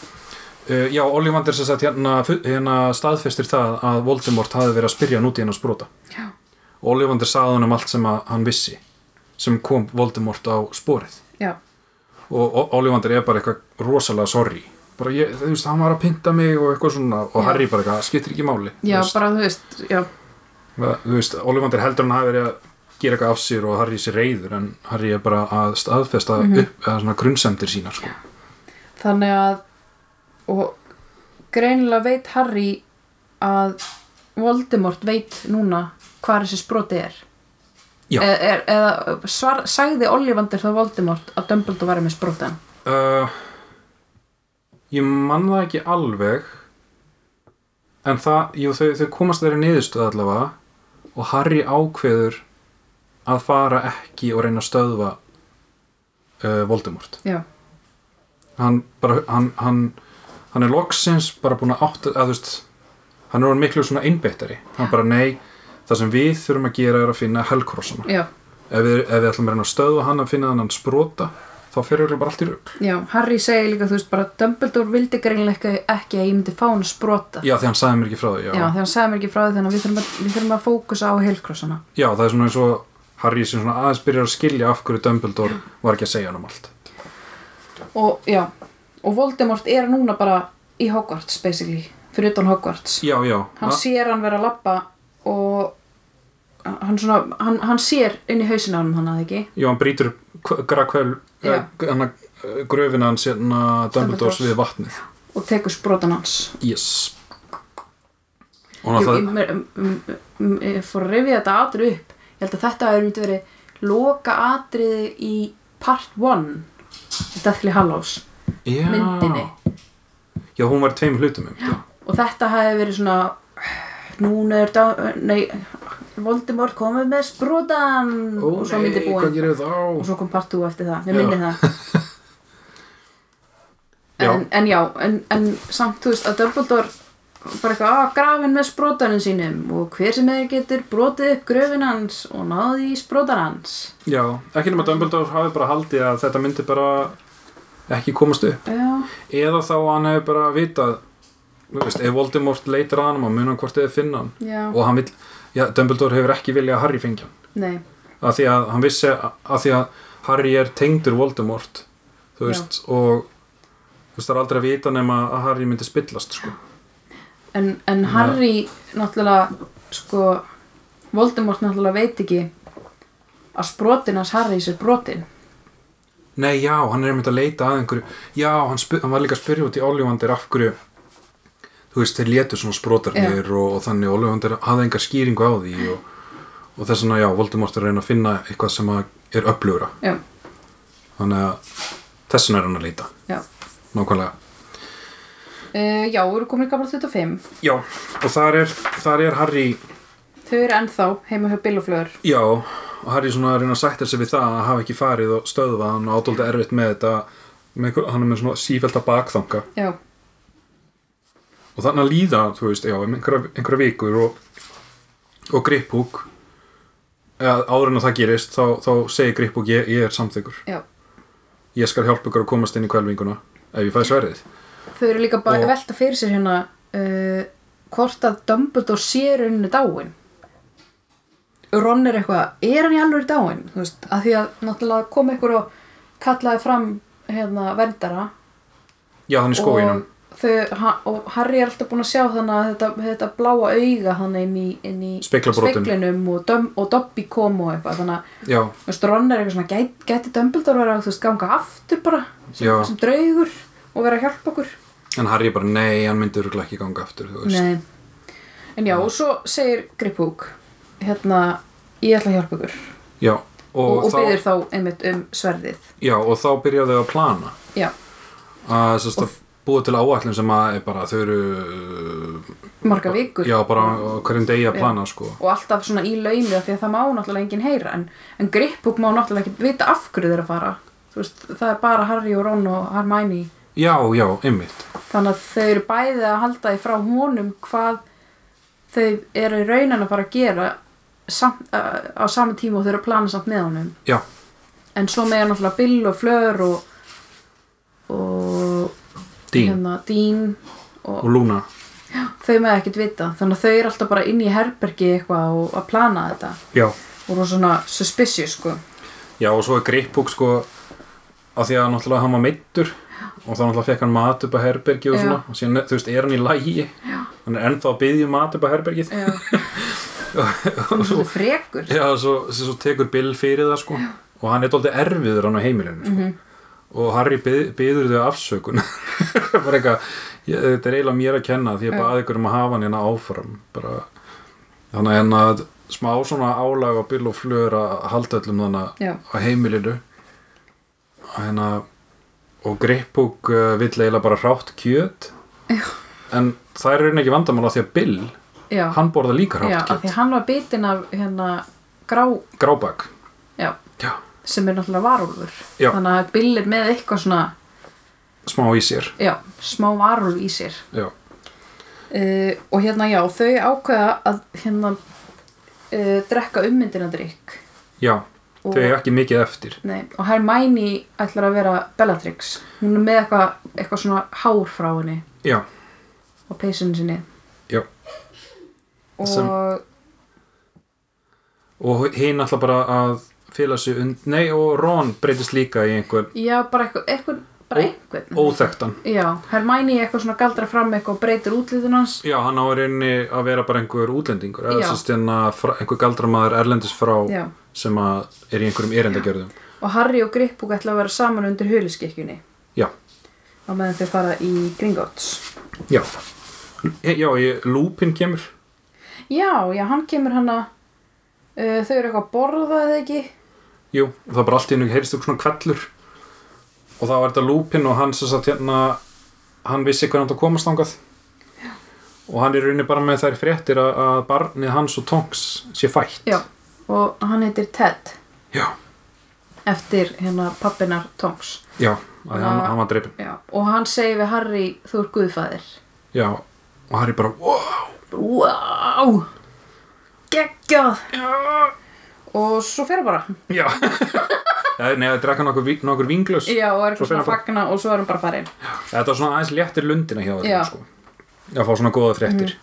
[SPEAKER 2] uh, já, Ollivander sem sagt hérna, fu- hérna staðfestir það að Voldemort hafi verið að spyrja hann út í hennar sprota
[SPEAKER 1] já,
[SPEAKER 2] og Ollivander sagði hann um allt sem að hann vissi sem kom Voldemort á sporið
[SPEAKER 1] já,
[SPEAKER 2] og O- Ollivander er bara eitthvað rosalega sorry bara ég, þú veist, hann var að pinta mig og eitthvað svona og
[SPEAKER 1] Já.
[SPEAKER 2] Harry bara eitthvað, skiptir ekki máli þú
[SPEAKER 1] já
[SPEAKER 2] veist.
[SPEAKER 1] bara þú veist, já,
[SPEAKER 2] Eða, þú veist, Ollivander heldur hann hafi verið að gera eitthvað af sér og Harry sér reyður en Harry er bara að staðfesta
[SPEAKER 1] Mhm.
[SPEAKER 2] upp eða svona grunnsemdir sínar sko.
[SPEAKER 1] þannig að og greinilega veit Harry að Voldemort veit núna hvað þessi sproti er
[SPEAKER 2] Já.
[SPEAKER 1] e er, eða svar, sagði Ollivander þá Voldemort að Dumbledore var með sprotan
[SPEAKER 2] uh, ég man það ekki alveg en það, jú, þau, þau komast þeirri niðurstöð allavega og Harry ákveður að fara ekki og reyna að stöðva uh, Voldemort
[SPEAKER 1] já,
[SPEAKER 2] hann bara, hann, hann hann er loksins bara búin að átta að þú veist, hann er orðinn miklu svona einbeittari, hann bara nei það sem við þurfum að gera er að finna helkrossana
[SPEAKER 1] já,
[SPEAKER 2] ef við, ef við ætlum að reyna að stöðva hann að finna hann sprota, þá fer örugglega bara allt í rugg
[SPEAKER 1] já Harry segi líka þú veist bara Dumbledore vildi greinilega ekki- ekki að ég myndi fá hann sprota
[SPEAKER 2] já, því hann sagði mér ekki frá því, já,
[SPEAKER 1] já þegar hann sagði mér ekki frá því þannig að við þurfum að, við þurfum að fókusa á heilkrossana
[SPEAKER 2] já það er svona eins og Harry sem svona aðeins byrjar að skilja af hverju Dumbledore var ekki að segja hann um allt
[SPEAKER 1] og já, og Voldemort er núna bara í Hogwarts basically, fyrir utan Hogwarts
[SPEAKER 2] já, já,
[SPEAKER 1] hann sér hann vera að labba og hann, svona, hann, hann sér inn í hausinu á hann hann að ekki
[SPEAKER 2] já, hann brýtur eh, grakvel,
[SPEAKER 1] Já.
[SPEAKER 2] gröfina hans hérna Dumbledores
[SPEAKER 1] Dumbledores.
[SPEAKER 2] við vatnið
[SPEAKER 1] og tekur sprotan hans
[SPEAKER 2] yes og
[SPEAKER 1] ég,
[SPEAKER 2] náttúrulega
[SPEAKER 1] ég, mér- m- m- m- ég fór að rifja þetta atrið upp ég held að þetta hefur myndi verið loka atriði í part 1 Deathly Hallows
[SPEAKER 2] já.
[SPEAKER 1] myndinni.
[SPEAKER 2] já, hún var í tveim hlutum um já.
[SPEAKER 1] og þetta hefði verið svona núna er dag, nei Voldemort komið með sprotan og svo myndi búin
[SPEAKER 2] gerir þá
[SPEAKER 1] og svo kom part 2 eftir það,
[SPEAKER 2] Já.
[SPEAKER 1] ég minni það
[SPEAKER 2] Já.
[SPEAKER 1] en, en já, en, en samt þú veist að Dumbledore bara eitthvað að grafin með sprótanum sínum og hver sem er getur brotið upp gröfin hans og náði í sprótan hans
[SPEAKER 2] já, ekki nema Dumbledore hafi bara haldið að þetta myndi bara ekki komast upp
[SPEAKER 1] já,
[SPEAKER 2] eða þá að hann hefur bara vitað þú veist, ef Voldemort leitar að hann og mun hann hvort eða finna hann
[SPEAKER 1] já,
[SPEAKER 2] og hann vill, já, Dumbledore hefur ekki viljað að Harry fengja hann
[SPEAKER 1] nei
[SPEAKER 2] af því að hann vissi af því að Harry er tengdur Voldemort þú
[SPEAKER 1] Já.
[SPEAKER 2] veist, og þú veist, það er aldrei að vita nema að Harry myndi spillast, sko
[SPEAKER 1] en, en Harry náttúrulega sko, Voldemort náttúrulega veit ekki að sprótin hans Harry sér brotin
[SPEAKER 2] Nei, já, hann er einmitt að leita að einhverju Já, hann, spyr, hann var líka að spyrja út í Ollivandir af hverju Þú veist, þeir létu svona sprotarnir og, og þannig Ollivandir hafði engar skýringu á því og, og þess vegna, já, Voldemort er að reyna að finna eitthvað sem að er upplugra
[SPEAKER 1] já,
[SPEAKER 2] Þannig að þess vegna er hann að leita
[SPEAKER 1] já
[SPEAKER 2] Nákvæmlega
[SPEAKER 1] Uh, já, við erum komin í gamla 25.
[SPEAKER 2] Já, og þar er, þar er Harry
[SPEAKER 1] Þau eru ennþá heima hjá Billoflöður.
[SPEAKER 2] Já, og Harry svona að reyna að sætta sig við það að hafa ekki farið og stöðvað hann og átóldi erfitt með þetta með einhver, hann er með svona sífælda bakþanga
[SPEAKER 1] Já,
[SPEAKER 2] og þannig að líða, þú veist, já, um einhverja, einhverja vikur og, og griphúk eða áður en að það gerist þá, þá segir griphúk ég, ég er samþykkur
[SPEAKER 1] já.
[SPEAKER 2] ég skal hjálpa ykkur að komast inn í kvelvinguna ef ég fæ sverðið
[SPEAKER 1] Þau eru líka bara
[SPEAKER 2] Og-
[SPEAKER 1] að velta fyrir sér hérna uh, hvort að Dumbledore sé rauninni dáin. Ron er eitthvað, er hann í alveg dáin? Þú veist, að því að náttúrulega kom einhver og kallaði fram hérna verndara.
[SPEAKER 2] já, þannig skóinum
[SPEAKER 1] Og, þau, ha, og Harry er alltaf búin að sjá þannig að þetta, þetta bláa auga þannig inn í, inn í
[SPEAKER 2] Speglabrotum.
[SPEAKER 1] speglinum og, Dum- og Dobby kom og eitthvað. Þannig að
[SPEAKER 2] já,
[SPEAKER 1] Þú veist, Ron er eitthvað svona, gæt, gæti Dumbledore vera að þú veist ganga aftur bara sem,
[SPEAKER 2] Já.
[SPEAKER 1] sem draugur og vera að hjálpa okkur
[SPEAKER 2] en Harry bara, nei, hann myndi örugglega ekki ganga aftur, þú veist
[SPEAKER 1] Nei En já, og svo segir Griphook hérna, ég ætla að hjálpa ykkur og,
[SPEAKER 2] já, og,
[SPEAKER 1] og,
[SPEAKER 2] þá,
[SPEAKER 1] byður þá einmitt um sverðið
[SPEAKER 2] já, og þá byrjaðu að plana
[SPEAKER 1] Já,
[SPEAKER 2] að, sérst, að búa til áætlun sem að er bara, þau eru uh,
[SPEAKER 1] marga vikur
[SPEAKER 2] já, bara á hverjum degi að
[SPEAKER 1] Já.
[SPEAKER 2] plana sko.
[SPEAKER 1] og alltaf svona í laumi af því að það má náttúrulega enginn heyra en, en Gripbook má náttúrulega ekki vita af hverju þeir að fara þú veist, það er bara Harry og Ron og Hermione
[SPEAKER 2] já, já, einmitt
[SPEAKER 1] þannig að þau eru bæði að halda því frá honum hvað þau eru í raunin að fara að gera sam, uh, á sama tíma og þau eru að plana samt með honum
[SPEAKER 2] já,
[SPEAKER 1] en svo með náttúrulega Bill og Fleur og, og
[SPEAKER 2] Dean
[SPEAKER 1] hérna, Dean og
[SPEAKER 2] og Luna
[SPEAKER 1] þau með ekkert vita þannig að þau eru alltaf bara inn í herbergi eitthvað og að plana þetta
[SPEAKER 2] já,
[SPEAKER 1] og eru svona suspicious sko
[SPEAKER 2] já og svo er Greipbúk sko, að því að náttúrulega hann var meittur og þá náttúrulega fekk hann mat upp að herbergi og
[SPEAKER 1] Já.
[SPEAKER 2] svona, og síðan, þú veist, er hann í lægi já. hann er ennþá að byggja mat upp að herbergið
[SPEAKER 1] Já. Hún er svolítið frekur
[SPEAKER 2] Já, svo, svo tekur Bill fyrir það sko og hann er dálítið erfiður hann á heimilinu sko.
[SPEAKER 1] Mhm.
[SPEAKER 2] og Harry byð- biður þau afsökun bara eitthvað ég- þetta er eiginlega mér að kenna því ég baði ykkur um að hafa hann hérna áfram bara, þannig að hérna smá svona álag á Bill og Fleur að halda öllum þannig
[SPEAKER 1] Já.
[SPEAKER 2] á heimilinu Að hérna og Gripbúk uh, vill eiginlega bara hrátt kjöt Já. en það er raunin ekki vandamála því að Bill,
[SPEAKER 1] Já,
[SPEAKER 2] hann borða líka
[SPEAKER 1] já
[SPEAKER 2] hrátt
[SPEAKER 1] af því
[SPEAKER 2] kjöt
[SPEAKER 1] hann var bitin af hérna grá,
[SPEAKER 2] grábak
[SPEAKER 1] já,
[SPEAKER 2] Já.
[SPEAKER 1] sem er náttúrulega varúlfur
[SPEAKER 2] Já.
[SPEAKER 1] þannig að Bill er með eitthvað svona
[SPEAKER 2] smá í sér
[SPEAKER 1] já, smá varúlf í sér
[SPEAKER 2] Já,
[SPEAKER 1] uh, og hérna já, þau ákveða að hérna uh, drekka ummyndina drikk
[SPEAKER 2] já,
[SPEAKER 1] Og-
[SPEAKER 2] þau eru ekki mikið eftir
[SPEAKER 1] Nei, og Hermione ætlar að vera Bellatrix hún er með eitthvað eitthvað svona hár frá henni
[SPEAKER 2] Já,
[SPEAKER 1] á peysunni sinni
[SPEAKER 2] já
[SPEAKER 1] og
[SPEAKER 2] Sem- Og hinn alltaf bara að fela sig und Nei, og Ron breytist líka í einhver
[SPEAKER 1] já, bara eitthvað, eitthvað bara
[SPEAKER 2] Ó-
[SPEAKER 1] einhvern
[SPEAKER 2] óþekktan
[SPEAKER 1] Já, Hermæni eitthvað svona galdra fram eitthvað og breytir útlitun hans
[SPEAKER 2] Já, hann á reyni að vera bara einhver útlendingur
[SPEAKER 1] Já.
[SPEAKER 2] eða sérst en að fra- einhver galdramaður erlendis frá
[SPEAKER 1] Já.
[SPEAKER 2] sem að er í einhverjum erindagjörðum
[SPEAKER 1] og Harry og Grippúk ætla að vera saman undir huliskykkjunni
[SPEAKER 2] Já,
[SPEAKER 1] á meðan þau fara í Gringotts
[SPEAKER 2] já E- Já, ég, lúpin kemur
[SPEAKER 1] Já, já, hann kemur hann að uh, þau eru eitthvað að borða eða ekki
[SPEAKER 2] Jú, og það er bara allt í hennu heyrist þú svona kvellur og þá er þetta lúpin og hann sem sagt hérna hann vissi hvernig hann átti að komast þangað og hann er í rauninni bara með þær fréttir að, að barnið hans og Tonks sé fætt
[SPEAKER 1] Já, og hann heitir Ted
[SPEAKER 2] já,
[SPEAKER 1] eftir hérna pappinar Tonks
[SPEAKER 2] já að hann,
[SPEAKER 1] Já.
[SPEAKER 2] hann var dreipin
[SPEAKER 1] Já, og hann segir við Harry þú er guðfæðir
[SPEAKER 2] já, og Harry bara wow,
[SPEAKER 1] Wow, geggjað
[SPEAKER 2] já,
[SPEAKER 1] og svo fer hann bara
[SPEAKER 2] já. Já, Nei, það drekka nokkur, vín- nokkur vinglös
[SPEAKER 1] Já, og er eitthvað
[SPEAKER 2] Svo fer hann
[SPEAKER 1] svona að fagna og svo er hann bara farinn
[SPEAKER 2] Þetta var svona aðeins léttir lundina hjá
[SPEAKER 1] Já. Mhm.
[SPEAKER 2] þetta sko. Já, fá svona góða fréttir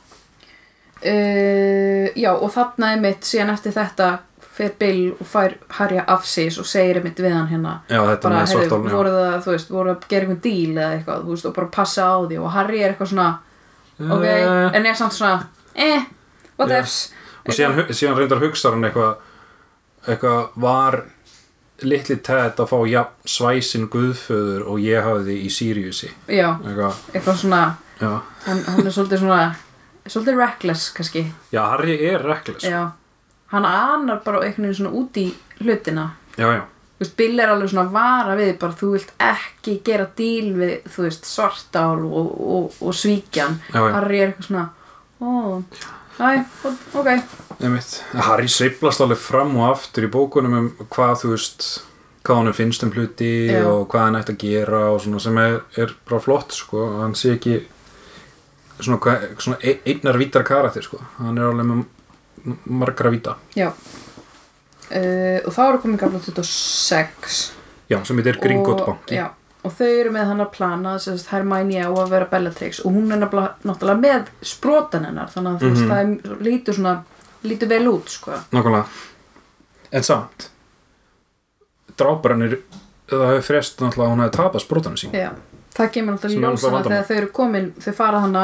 [SPEAKER 1] uh, já og þarna er mitt síðan eftir þetta fer Bill og fær Harry af sís og segir einmitt við hann hérna
[SPEAKER 2] Já, þetta
[SPEAKER 1] bara,
[SPEAKER 2] með
[SPEAKER 1] heyrðu,
[SPEAKER 2] svartálun
[SPEAKER 1] voru það, þú veist, voru að gera einhvern díl eða eitthvað, þú veist, og bara passa á því og Harry er eitthvað svona, ok en er samt svona, eh, what
[SPEAKER 2] Já.
[SPEAKER 1] ifs
[SPEAKER 2] og síðan, hu- síðan reyndar hugsa hann eitthvað eitthvað var litli tætt að fá jafn svæsin guðföður og ég hafði í Siriusi
[SPEAKER 1] já,
[SPEAKER 2] eitthvað,
[SPEAKER 1] eitthvað svona
[SPEAKER 2] já
[SPEAKER 1] hann, hann er svolítið svona svolítið reckless, kannski,
[SPEAKER 2] já, Harry er rekles já,
[SPEAKER 1] já hann anar bara einhvern veginn svona út í hlutina
[SPEAKER 2] já,
[SPEAKER 1] Þú veist, Bill er alveg svona að vara við bara þú vilt ekki gera díl við þú veist, svartál og, og, og svíkjan
[SPEAKER 2] Já, já.
[SPEAKER 1] Harry er eitthvað svona ó, næ, ok
[SPEAKER 2] einmitt Harry sveiflast alveg fram og aftur í bókunum um hvað þú veist hvað hann finnst um hluti
[SPEAKER 1] Já.
[SPEAKER 2] og hvað hann ætti að gera og svona sem er, er bara flott sko, hann sé ekki svona, hvað- svona ein- einnar vítar karatir sko, hann er alveg með margra víta,
[SPEAKER 1] já uh, og þá eru komin gamla 26
[SPEAKER 2] já, sem þetta er Gringott
[SPEAKER 1] og,
[SPEAKER 2] banki
[SPEAKER 1] já, og þau eru með hann að plana sem sagt, Hermæni á að vera Bellatrix og hún er nafnilega- náttúrulega með sprotan hennar þannig að þú
[SPEAKER 2] Mhm.
[SPEAKER 1] veist, það er, lítur svona lítur vel út, sko
[SPEAKER 2] Nákvæmlega En samt Dráparannir Það hefur frest náttúrulega að hún hefði tapað sprótanu sín
[SPEAKER 1] Já, það kemur
[SPEAKER 2] Sem
[SPEAKER 1] náttúrulega í
[SPEAKER 2] er
[SPEAKER 1] ljósana
[SPEAKER 2] náttúrulega vandamál.
[SPEAKER 1] þegar þau eru komin, þau fara hana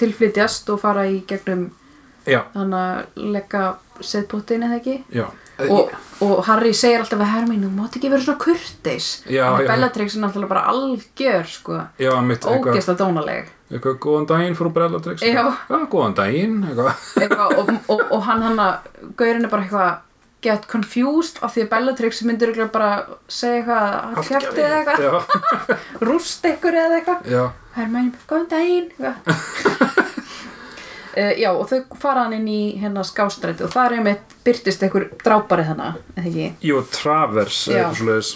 [SPEAKER 1] tilflytjast og fara í gegnum
[SPEAKER 2] Já,
[SPEAKER 1] hana leggja setbóttin eða ekki
[SPEAKER 2] já
[SPEAKER 1] og, og Harry segir alltaf að Hermín, þú mátt ekki vera svona kurteis
[SPEAKER 2] Já,
[SPEAKER 1] En
[SPEAKER 2] já.
[SPEAKER 1] Bellatrix er náttúrulega bara algjör sko,
[SPEAKER 2] Já, mitt eitthvað,
[SPEAKER 1] ógeðsla dónaleg
[SPEAKER 2] eitthvað Góðan daginn frú Brellatrix
[SPEAKER 1] Já.
[SPEAKER 2] Góðan daginn eitthvað.
[SPEAKER 1] eitthvað, og, og, og hann hann gaurinn er bara eitthvað get confused af því að Bellatrix myndir örugglega bara segja eitthvað að hann kjæfti eða eitthvað,
[SPEAKER 2] Já,
[SPEAKER 1] rúst ykkur eða eitthvað
[SPEAKER 2] já,
[SPEAKER 1] Hermæni bara, góðan daginn eitthvað. uh, Já, og þau fara hann inn í hérna skástræti og þar er mitt byrtist einhver drápari þarna, eða ekki
[SPEAKER 2] jú, Travers
[SPEAKER 1] Já.
[SPEAKER 2] eða eitthvað svoleiðis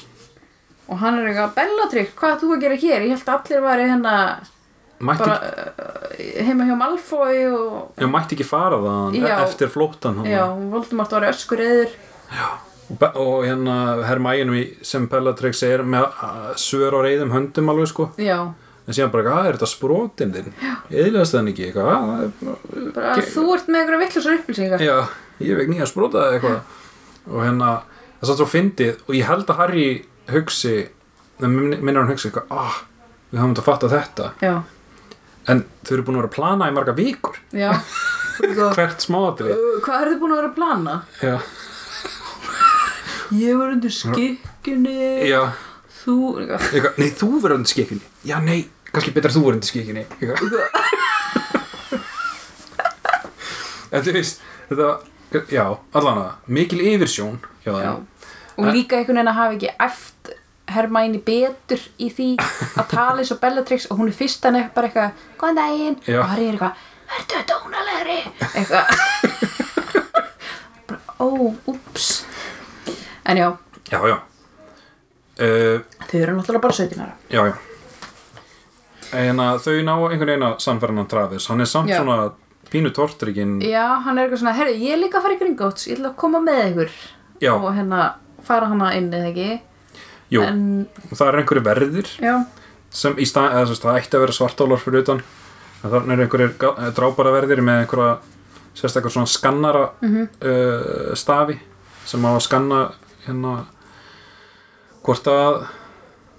[SPEAKER 1] og hann er eitthvað, Bellatrix, hvað ert þú að gera hér? Ég held að allir væri hérna
[SPEAKER 2] mætti,
[SPEAKER 1] bara uh, heima hjá Malfoy og
[SPEAKER 2] já, mætti ekki fara það
[SPEAKER 1] Já.
[SPEAKER 2] eftir flóttan hann
[SPEAKER 1] já, Voldemort var öskur eður
[SPEAKER 2] Be- og hérna Hermæjunum sem Bellatrix er með uh, svör á reyðum höndum alveg sko
[SPEAKER 1] Já,
[SPEAKER 2] en síðan bara, hvað er þetta sprótin þinn eðlaðast þannig ekki eitthvað "Ah, það er bara-
[SPEAKER 1] bara þú ert með einhverja vittlusar upplýsingar
[SPEAKER 2] Já, ég veik nýja spróta eða eitthvað og hérna, það er samt svo fyndið og ég held að Harry hugsi það minnir hann hugsi eitthvað ah, við höfum þetta að fatta þetta
[SPEAKER 1] Já,
[SPEAKER 2] en þau eru búin að vera að plana í marga vikur
[SPEAKER 1] já
[SPEAKER 2] hvert smáatri
[SPEAKER 1] Hvað eru þið búin að vera að plana?
[SPEAKER 2] já,
[SPEAKER 1] Ég var undir skikkunni
[SPEAKER 2] já,
[SPEAKER 1] Þú
[SPEAKER 2] eitthvað, nei þú verður undir skikinni já, nei, kannski betra þú verður undir skikinni eitthvað en þú veist þetta, já, allan að mikil yfirsjón hjá
[SPEAKER 1] Já.
[SPEAKER 2] það
[SPEAKER 1] Og líka einhvern veginn að hafa ekki eft Hermæni betur í því að tala eins og Bellatrix og hún er fyrst hann bara eitthvað Góðan daginn
[SPEAKER 2] Já.
[SPEAKER 1] og Harry er eitthvað Ertu dónalegri? Eitthvað Bara, Ó, úps En já,
[SPEAKER 2] já, já uh,
[SPEAKER 1] þau eru náttúrulega bara 17 ára
[SPEAKER 2] Já, já En að þau ná einhvern veginn að sannferðan Travis Hann er samt
[SPEAKER 1] Já.
[SPEAKER 2] svona pínu tortrykkin
[SPEAKER 1] Já, hann er eitthvað svona, herru, ég er líka að fara í Gringotts Ég ætla að koma með ykkur
[SPEAKER 2] Já,
[SPEAKER 1] og hérna fara hana inn eða ekki
[SPEAKER 2] jú,
[SPEAKER 1] en
[SPEAKER 2] það er einhverju verðir
[SPEAKER 1] já,
[SPEAKER 2] sem í stað, eða þess að það ætti að vera svartálar fyrir utan en þannig er einhverjir drábara verðir með einhverja sérstakar svona skannara
[SPEAKER 1] Mhm.
[SPEAKER 2] uh, stafi sem á að skanna hérna hvort að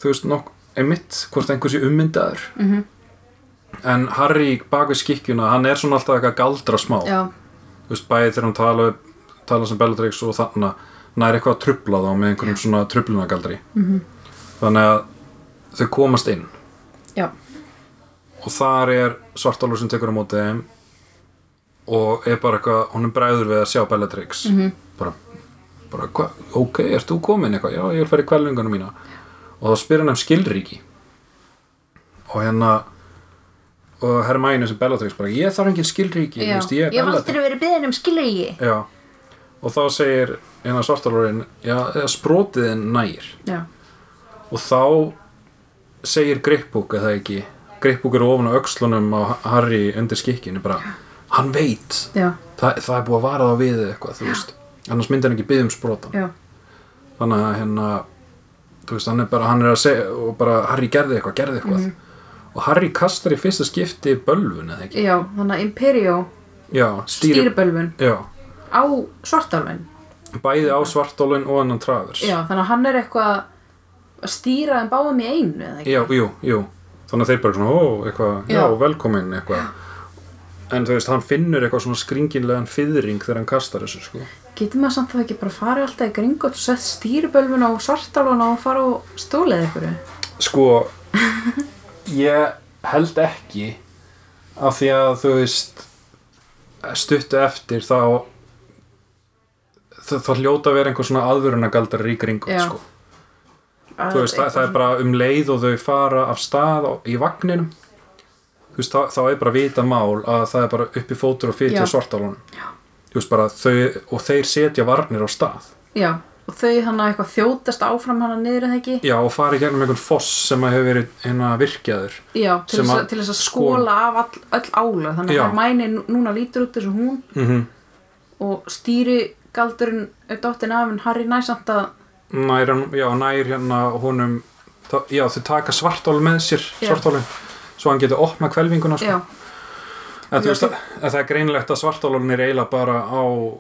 [SPEAKER 2] þú veist nokk einmitt, hvort einhversi ummyndaður
[SPEAKER 1] Mhm.
[SPEAKER 2] en Harry bak við skikkjuna, hann er svona alltaf eitthvað að galdra smá
[SPEAKER 1] já,
[SPEAKER 2] þú veist, bæði þegar hún tala, tala sem Bellatrix og þarna nær eitthvað að trubla þá með einhverjum svona trublunagaldri -hmm.
[SPEAKER 1] Mhm.
[SPEAKER 2] þannig að þau komast inn
[SPEAKER 1] já
[SPEAKER 2] og þar er svartálur sem tekur á móti þeim og er bara eitthvað, hún er bræður við að sjá Bellatrix
[SPEAKER 1] Mhm.
[SPEAKER 2] -hmm. bara, bara hva, ok, ert þú komin eitthvað já, ég vil fara í kvælingunum mína og þá spyr hann um skilríki og hérna og Hermæni sem Bellatrix bara ég þarf engin skilríki, þú
[SPEAKER 1] já.
[SPEAKER 2] veist, ég er
[SPEAKER 1] hef
[SPEAKER 2] Bellatrix
[SPEAKER 1] aldrei verið beðin um skilrigi
[SPEAKER 2] Já, og þá segir eina svartalórin, já, eða sprótiðin nær
[SPEAKER 1] já,
[SPEAKER 2] og þá segir Greipbúk, eða ekki Greipbúk er ofan á öxlunum á Harry undir skikkinu, bara, hann veit
[SPEAKER 1] já,
[SPEAKER 2] Þa, það er búið að vara þá við eða eitthvað, þú veist annars myndi hann ekki byggja um sprótan
[SPEAKER 1] já,
[SPEAKER 2] þannig að hérna þú veist, hann er bara, hann er að segja og bara, Harry gerði eitthvað, gerði eitthvað
[SPEAKER 1] Mhm.
[SPEAKER 2] og Harry kastar í fyrsta skipti bölvun eða ekki,
[SPEAKER 1] já þannig að Imperio
[SPEAKER 2] já, stýri,
[SPEAKER 1] stýrbölvun
[SPEAKER 2] já,
[SPEAKER 1] á svartalvin
[SPEAKER 2] bæði á svartólun og annan travers
[SPEAKER 1] já, þannig að hann er eitthvað að stýra en báum í einu eða ekki
[SPEAKER 2] Já, jú, jú Þannig að þeir bara svona, ó, eitthvað, já,
[SPEAKER 1] Já.
[SPEAKER 2] velkomin eitthvað En þú veist, hann finnur eitthvað svona skringinlegan fyrring þegar hann kastar þessu, sko
[SPEAKER 1] getur maður samt þá ekki bara farið alltaf í Gringotts og sett stýrbölvun á svartalvin og fara og stólið ykkur
[SPEAKER 2] Sko, ég held ekki af því að, þú veist stuttu eftir þá þá, þá hljóta að vera einhver svona aðvörunagaldar í gringum,
[SPEAKER 1] Já.
[SPEAKER 2] sko þú veist, það, það er bara um leið og þau fara af stað á, í vagninum þú veist, þá, þá er bara vita mál að það er bara uppi fótur og
[SPEAKER 1] Já.
[SPEAKER 2] fyrir svartalunum þú veist bara, þau, og þeir setja varnir á stað
[SPEAKER 1] já, og þau hann að eitthvað þjótast áfram hana niður eða ekki
[SPEAKER 2] já, og fara í gegnum einhvern foss sem að hefur verið hérna virkjaður
[SPEAKER 1] Já, til þess
[SPEAKER 2] sem að sko-
[SPEAKER 1] að, til þess að skóla af all, öll ála þannig
[SPEAKER 2] Já.
[SPEAKER 1] að mæni núna lítur út þessu hún
[SPEAKER 2] mm -hmm.
[SPEAKER 1] og stýri galdurinn er dottin af en Harry næsamt að
[SPEAKER 2] nær, hann- já, nær hérna honum þá- já, þau taka svartál með sér
[SPEAKER 1] Já.
[SPEAKER 2] svartálun, svo hann getur opnað kvelvinguna, sko
[SPEAKER 1] já,
[SPEAKER 2] En þú
[SPEAKER 1] Já,
[SPEAKER 2] veist að, að það er greinlegt að svartálun er eiginlega bara á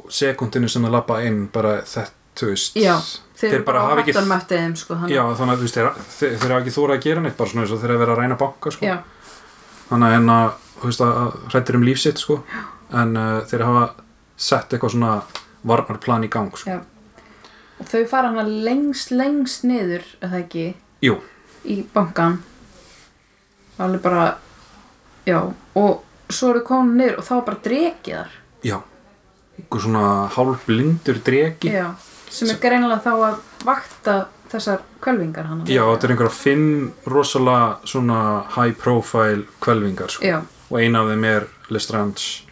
[SPEAKER 2] sekundinu sem það lappa inn bara þetta, þú veist
[SPEAKER 1] já
[SPEAKER 2] þeir, bara hafa ekki
[SPEAKER 1] hattanum eftir þeim sko, þannig-
[SPEAKER 2] Já, þannig að þú veist, þeir, þeir, þeir hafa ekki þóra að gera neitt bara svona eins og þeir hafa verið að reyna banka sko.
[SPEAKER 1] já,
[SPEAKER 2] þannig að hérna, þú veist að hrættir um líf sitt sko. en uh, þeir hafa sett eitthvað svona varnarplan í gang sko.
[SPEAKER 1] já og þau fara hana lengst, lengst niður eða ekki,
[SPEAKER 2] Jú,
[SPEAKER 1] í bankan alveg bara já, og svo eru komin niður og þá er bara drekið þar
[SPEAKER 2] já, einhver svona hálfblindur dregi
[SPEAKER 1] já, sem er greinilega þá að vakta þessar kvelvingar hann
[SPEAKER 2] Já, þetta er einhverja fimm rosalega svona high profile kvelvingar sko.
[SPEAKER 1] já,
[SPEAKER 2] og eina af þeim er Lestrands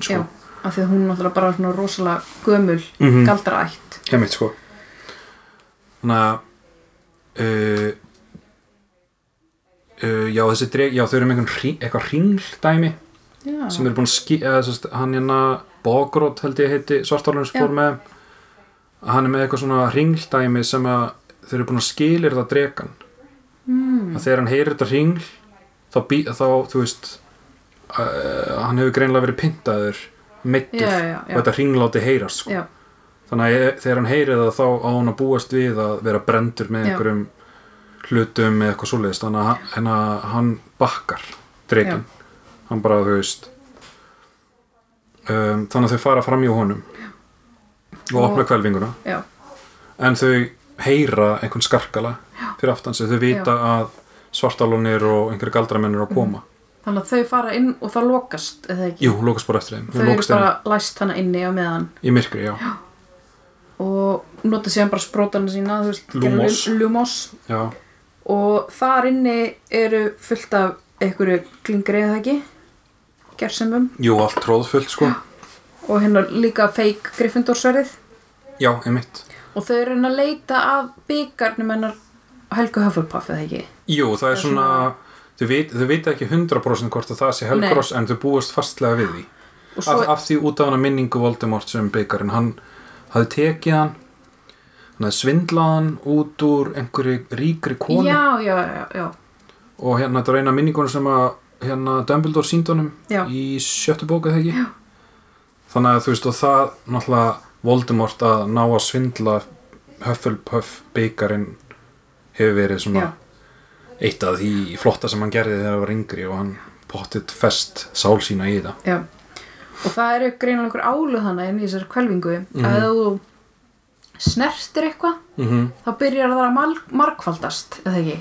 [SPEAKER 1] já,
[SPEAKER 2] sko.
[SPEAKER 1] af því að hún er náttúrulega bara svona rosalega gömul
[SPEAKER 2] Mhm.
[SPEAKER 1] galdra ætt
[SPEAKER 2] Heimitt sko. Þannig að uh, uh, já, þessi dreg já, þau eru með einhvern hring- eitthvað hringdæmi
[SPEAKER 1] já,
[SPEAKER 2] sem eru búin að ský eða, sest, hann hérna Bogrót held ég heiti svartálun sem
[SPEAKER 1] Já.
[SPEAKER 2] fór með hann er með eitthvað svona hringltæmi sem að þeir eru búin að skilir það dregan
[SPEAKER 1] mm,
[SPEAKER 2] að þegar hann heyrir þetta hringl þá, bí, þá þú veist uh, hann hefur greinlega verið pyntaður meittur
[SPEAKER 1] já, já,
[SPEAKER 2] og
[SPEAKER 1] já,
[SPEAKER 2] þetta hringláti heyrast sko.
[SPEAKER 1] já,
[SPEAKER 2] þannig að ég- þegar hann heyrir það þá á hann að búast við að vera brendur með
[SPEAKER 1] Já.
[SPEAKER 2] einhverjum hlutum eða eitthvað svoleiðist þannig að, hann- en að hann bakkar dreikin hann bara þú veist um, þannig að þau fara fram hjá honum og opna
[SPEAKER 1] Og-
[SPEAKER 2] kvelvinguna
[SPEAKER 1] já,
[SPEAKER 2] en þau heyra einhvern skarkala fyrir aftan sig, þau vita að svartalónir og einhverju galdramenn eru að
[SPEAKER 1] Mm.
[SPEAKER 2] koma
[SPEAKER 1] þannig að þau fara inn og það lokast, eða ekki
[SPEAKER 2] jú, lókast bara eftir þeim
[SPEAKER 1] þau
[SPEAKER 2] Hún
[SPEAKER 1] eru
[SPEAKER 2] lokast þeim
[SPEAKER 1] bara læst hana inni á meðan
[SPEAKER 2] í myrkri, já,
[SPEAKER 1] og nota síðan bara sprótana sína þú veist, gera
[SPEAKER 2] Lumos.
[SPEAKER 1] lu- lumos
[SPEAKER 2] já.
[SPEAKER 1] og þar inni eru fullt af einhverju klingri eða ekki gersemum
[SPEAKER 2] jú, allt tróðfullt sko
[SPEAKER 1] og hérna líka feik Gryffindorsverið
[SPEAKER 2] já, einmitt
[SPEAKER 1] og þau eru hérna að leita að byggarnum hennar Helgu Hufflepuff eða ekki
[SPEAKER 2] Jú, það er
[SPEAKER 1] er
[SPEAKER 2] svona,
[SPEAKER 1] svona-
[SPEAKER 2] þau, vit, þau vita ekki 100% hvort að það sé Helgros en þau búast fastlega við því
[SPEAKER 1] og svo,
[SPEAKER 2] af, af því út af hana minningu Voldemort sem byggarinn, hann hafði tekið hann hann hafði svindlað hann út úr einhverju ríkri konu
[SPEAKER 1] já, já, já, já,
[SPEAKER 2] og hérna þetta er eina minningunum sem að hérna Dumbledore sínd honum
[SPEAKER 1] Já.
[SPEAKER 2] í sjöttu bóku þegar ekki já. þannig að þú veist og það náttúrulega Voldemort að ná að svindla Hufflepuff byggarinn hefur verið svona
[SPEAKER 1] Já.
[SPEAKER 2] eitt af því flotta sem hann gerði þegar hann var yngri og hann pottit fest sál sína í þetta
[SPEAKER 1] já og það eru greinilega einhver áluð hana inn í þessari kvelvingu
[SPEAKER 2] Mhm.
[SPEAKER 1] að ef þú snertir eitthvað
[SPEAKER 2] mm -hmm.
[SPEAKER 1] þá byrjar það að mal- margfaldast eða ekki,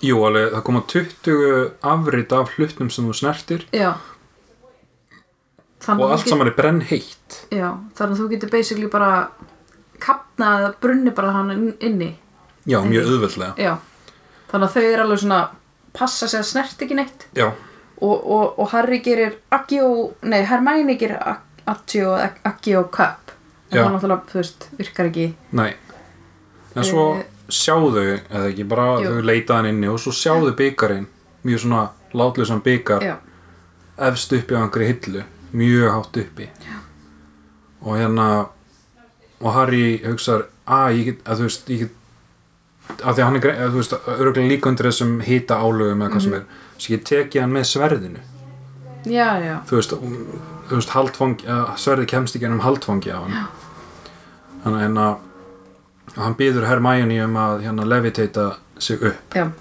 [SPEAKER 2] Jú, alveg, það koma 20 afrit af hlutnum sem þú snertir
[SPEAKER 1] já
[SPEAKER 2] og
[SPEAKER 1] þannig að
[SPEAKER 2] allt
[SPEAKER 1] þú get-
[SPEAKER 2] saman er brenn heitt
[SPEAKER 1] já, þannig að þú getur basically bara kapnað eða brunni bara hann inn- inni
[SPEAKER 2] Já, mjög auðveldlega
[SPEAKER 1] Já, þannig að þau eru alveg svona passa sig að snert ekki neitt
[SPEAKER 2] Já,
[SPEAKER 1] og, og, og Harry gerir Agio, nei Hermione gerir Ag- Agio, Agio Cup en
[SPEAKER 2] Já.
[SPEAKER 1] það náttúrulega, þú veist, virkar ekki
[SPEAKER 2] Nei, en svo
[SPEAKER 1] Eh.
[SPEAKER 2] sjáðu, eða ekki, bara
[SPEAKER 1] Jú.
[SPEAKER 2] þau leita hann inni og svo sjáðu byggarinn, mjög svona látlusan byggar,
[SPEAKER 1] Já,
[SPEAKER 2] efst uppi á einhverju hillu, mjög hátt uppi. Já. Og hérna, og Harry hugsar, að ég get, að þú veist, ég get, að því að hann er, grein- að þú veist, örgulega líka undir þessum hita álögum eða hvað sem er, svo ég teki hann með sverðinu,
[SPEAKER 1] já, já,
[SPEAKER 2] þú veist, um, þú veist, haldfangi, að sverði kemst ekki ennum haldfangi á hann. Já. Þannig en að og hann býður Hermione um að hérna levitata sig upp
[SPEAKER 1] já,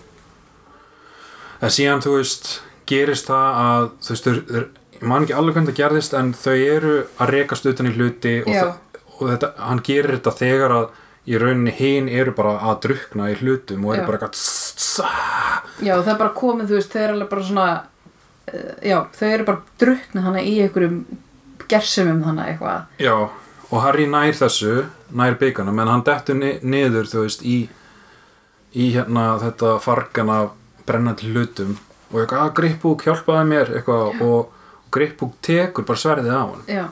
[SPEAKER 2] en síðan þú veist gerist það að þú veist þeir, þeir, ég man ekki alveg hvernig það gerðist en þau eru að rekast utan í hluti og,
[SPEAKER 1] Já.
[SPEAKER 2] það, og þetta, hann gerir þetta þegar að í rauninni hinn eru bara að drukna í hlutum og eru
[SPEAKER 1] Já.
[SPEAKER 2] bara eitthvað tss, tss, ah.
[SPEAKER 1] já, það er bara komið, þú veist, þau eru alveg bara svona uh, já, þau eru bara druknað hana í einhverjum gersumum hana eitthvað
[SPEAKER 2] já og Harry nær þessu, nær bygganum en hann dettur ni niður þú veist í, í hérna þetta fargan af brennandi hlutum og eitthvað að Gripbúk hjálpaði mér eitthvað og, og Gripbúk tekur bara sverðið á hann
[SPEAKER 1] Já,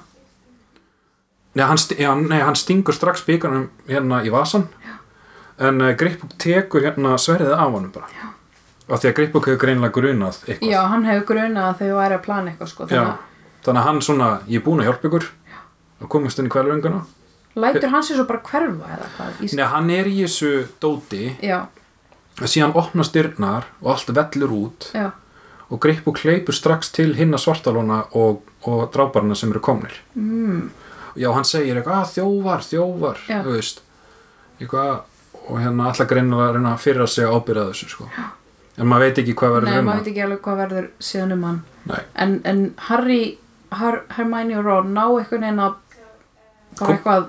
[SPEAKER 2] Nei, hann, sti- já, nei, hann stingur strax bíkanum hérna í vasan en uh, Gripbúk tekur hérna sverðið af honum bara já. af því að Gripbúk hefur greinlega grunað eitthvað
[SPEAKER 1] já hann hefur grunað að þau væri að plana eitthvað sko,
[SPEAKER 2] Já.
[SPEAKER 1] þannig
[SPEAKER 2] þannig að hann svona, ég er búin að hjálpa ykkur og komist inn í kvelvinguna
[SPEAKER 1] að lætur hann sér svo bara hverfa eða hvað í...
[SPEAKER 2] Nei, hann er í þessu dóti
[SPEAKER 1] Já,
[SPEAKER 2] að síðan opnast dyrnar og allt vellur út
[SPEAKER 1] já,
[SPEAKER 2] og Gripbúk hleypur strax til hinna svartalóna og, og drábarna sem eru komnir mm. já, hann segir eitthvað "Ah, þjófar, þjófar
[SPEAKER 1] Já.
[SPEAKER 2] þú veist eitthvað, og hérna alltaf greinilega að reyna að fyrra sig ábyrða þessu sko. en maður veit ekki hvað
[SPEAKER 1] nei,
[SPEAKER 2] verður um
[SPEAKER 1] maður
[SPEAKER 2] hann
[SPEAKER 1] veit ekki alveg hvað verður síðan um hann
[SPEAKER 2] Nei.
[SPEAKER 1] en, en Harry Har, Hermione og Ron ná einhvern veginn að bara
[SPEAKER 2] Kom-
[SPEAKER 1] eitthvað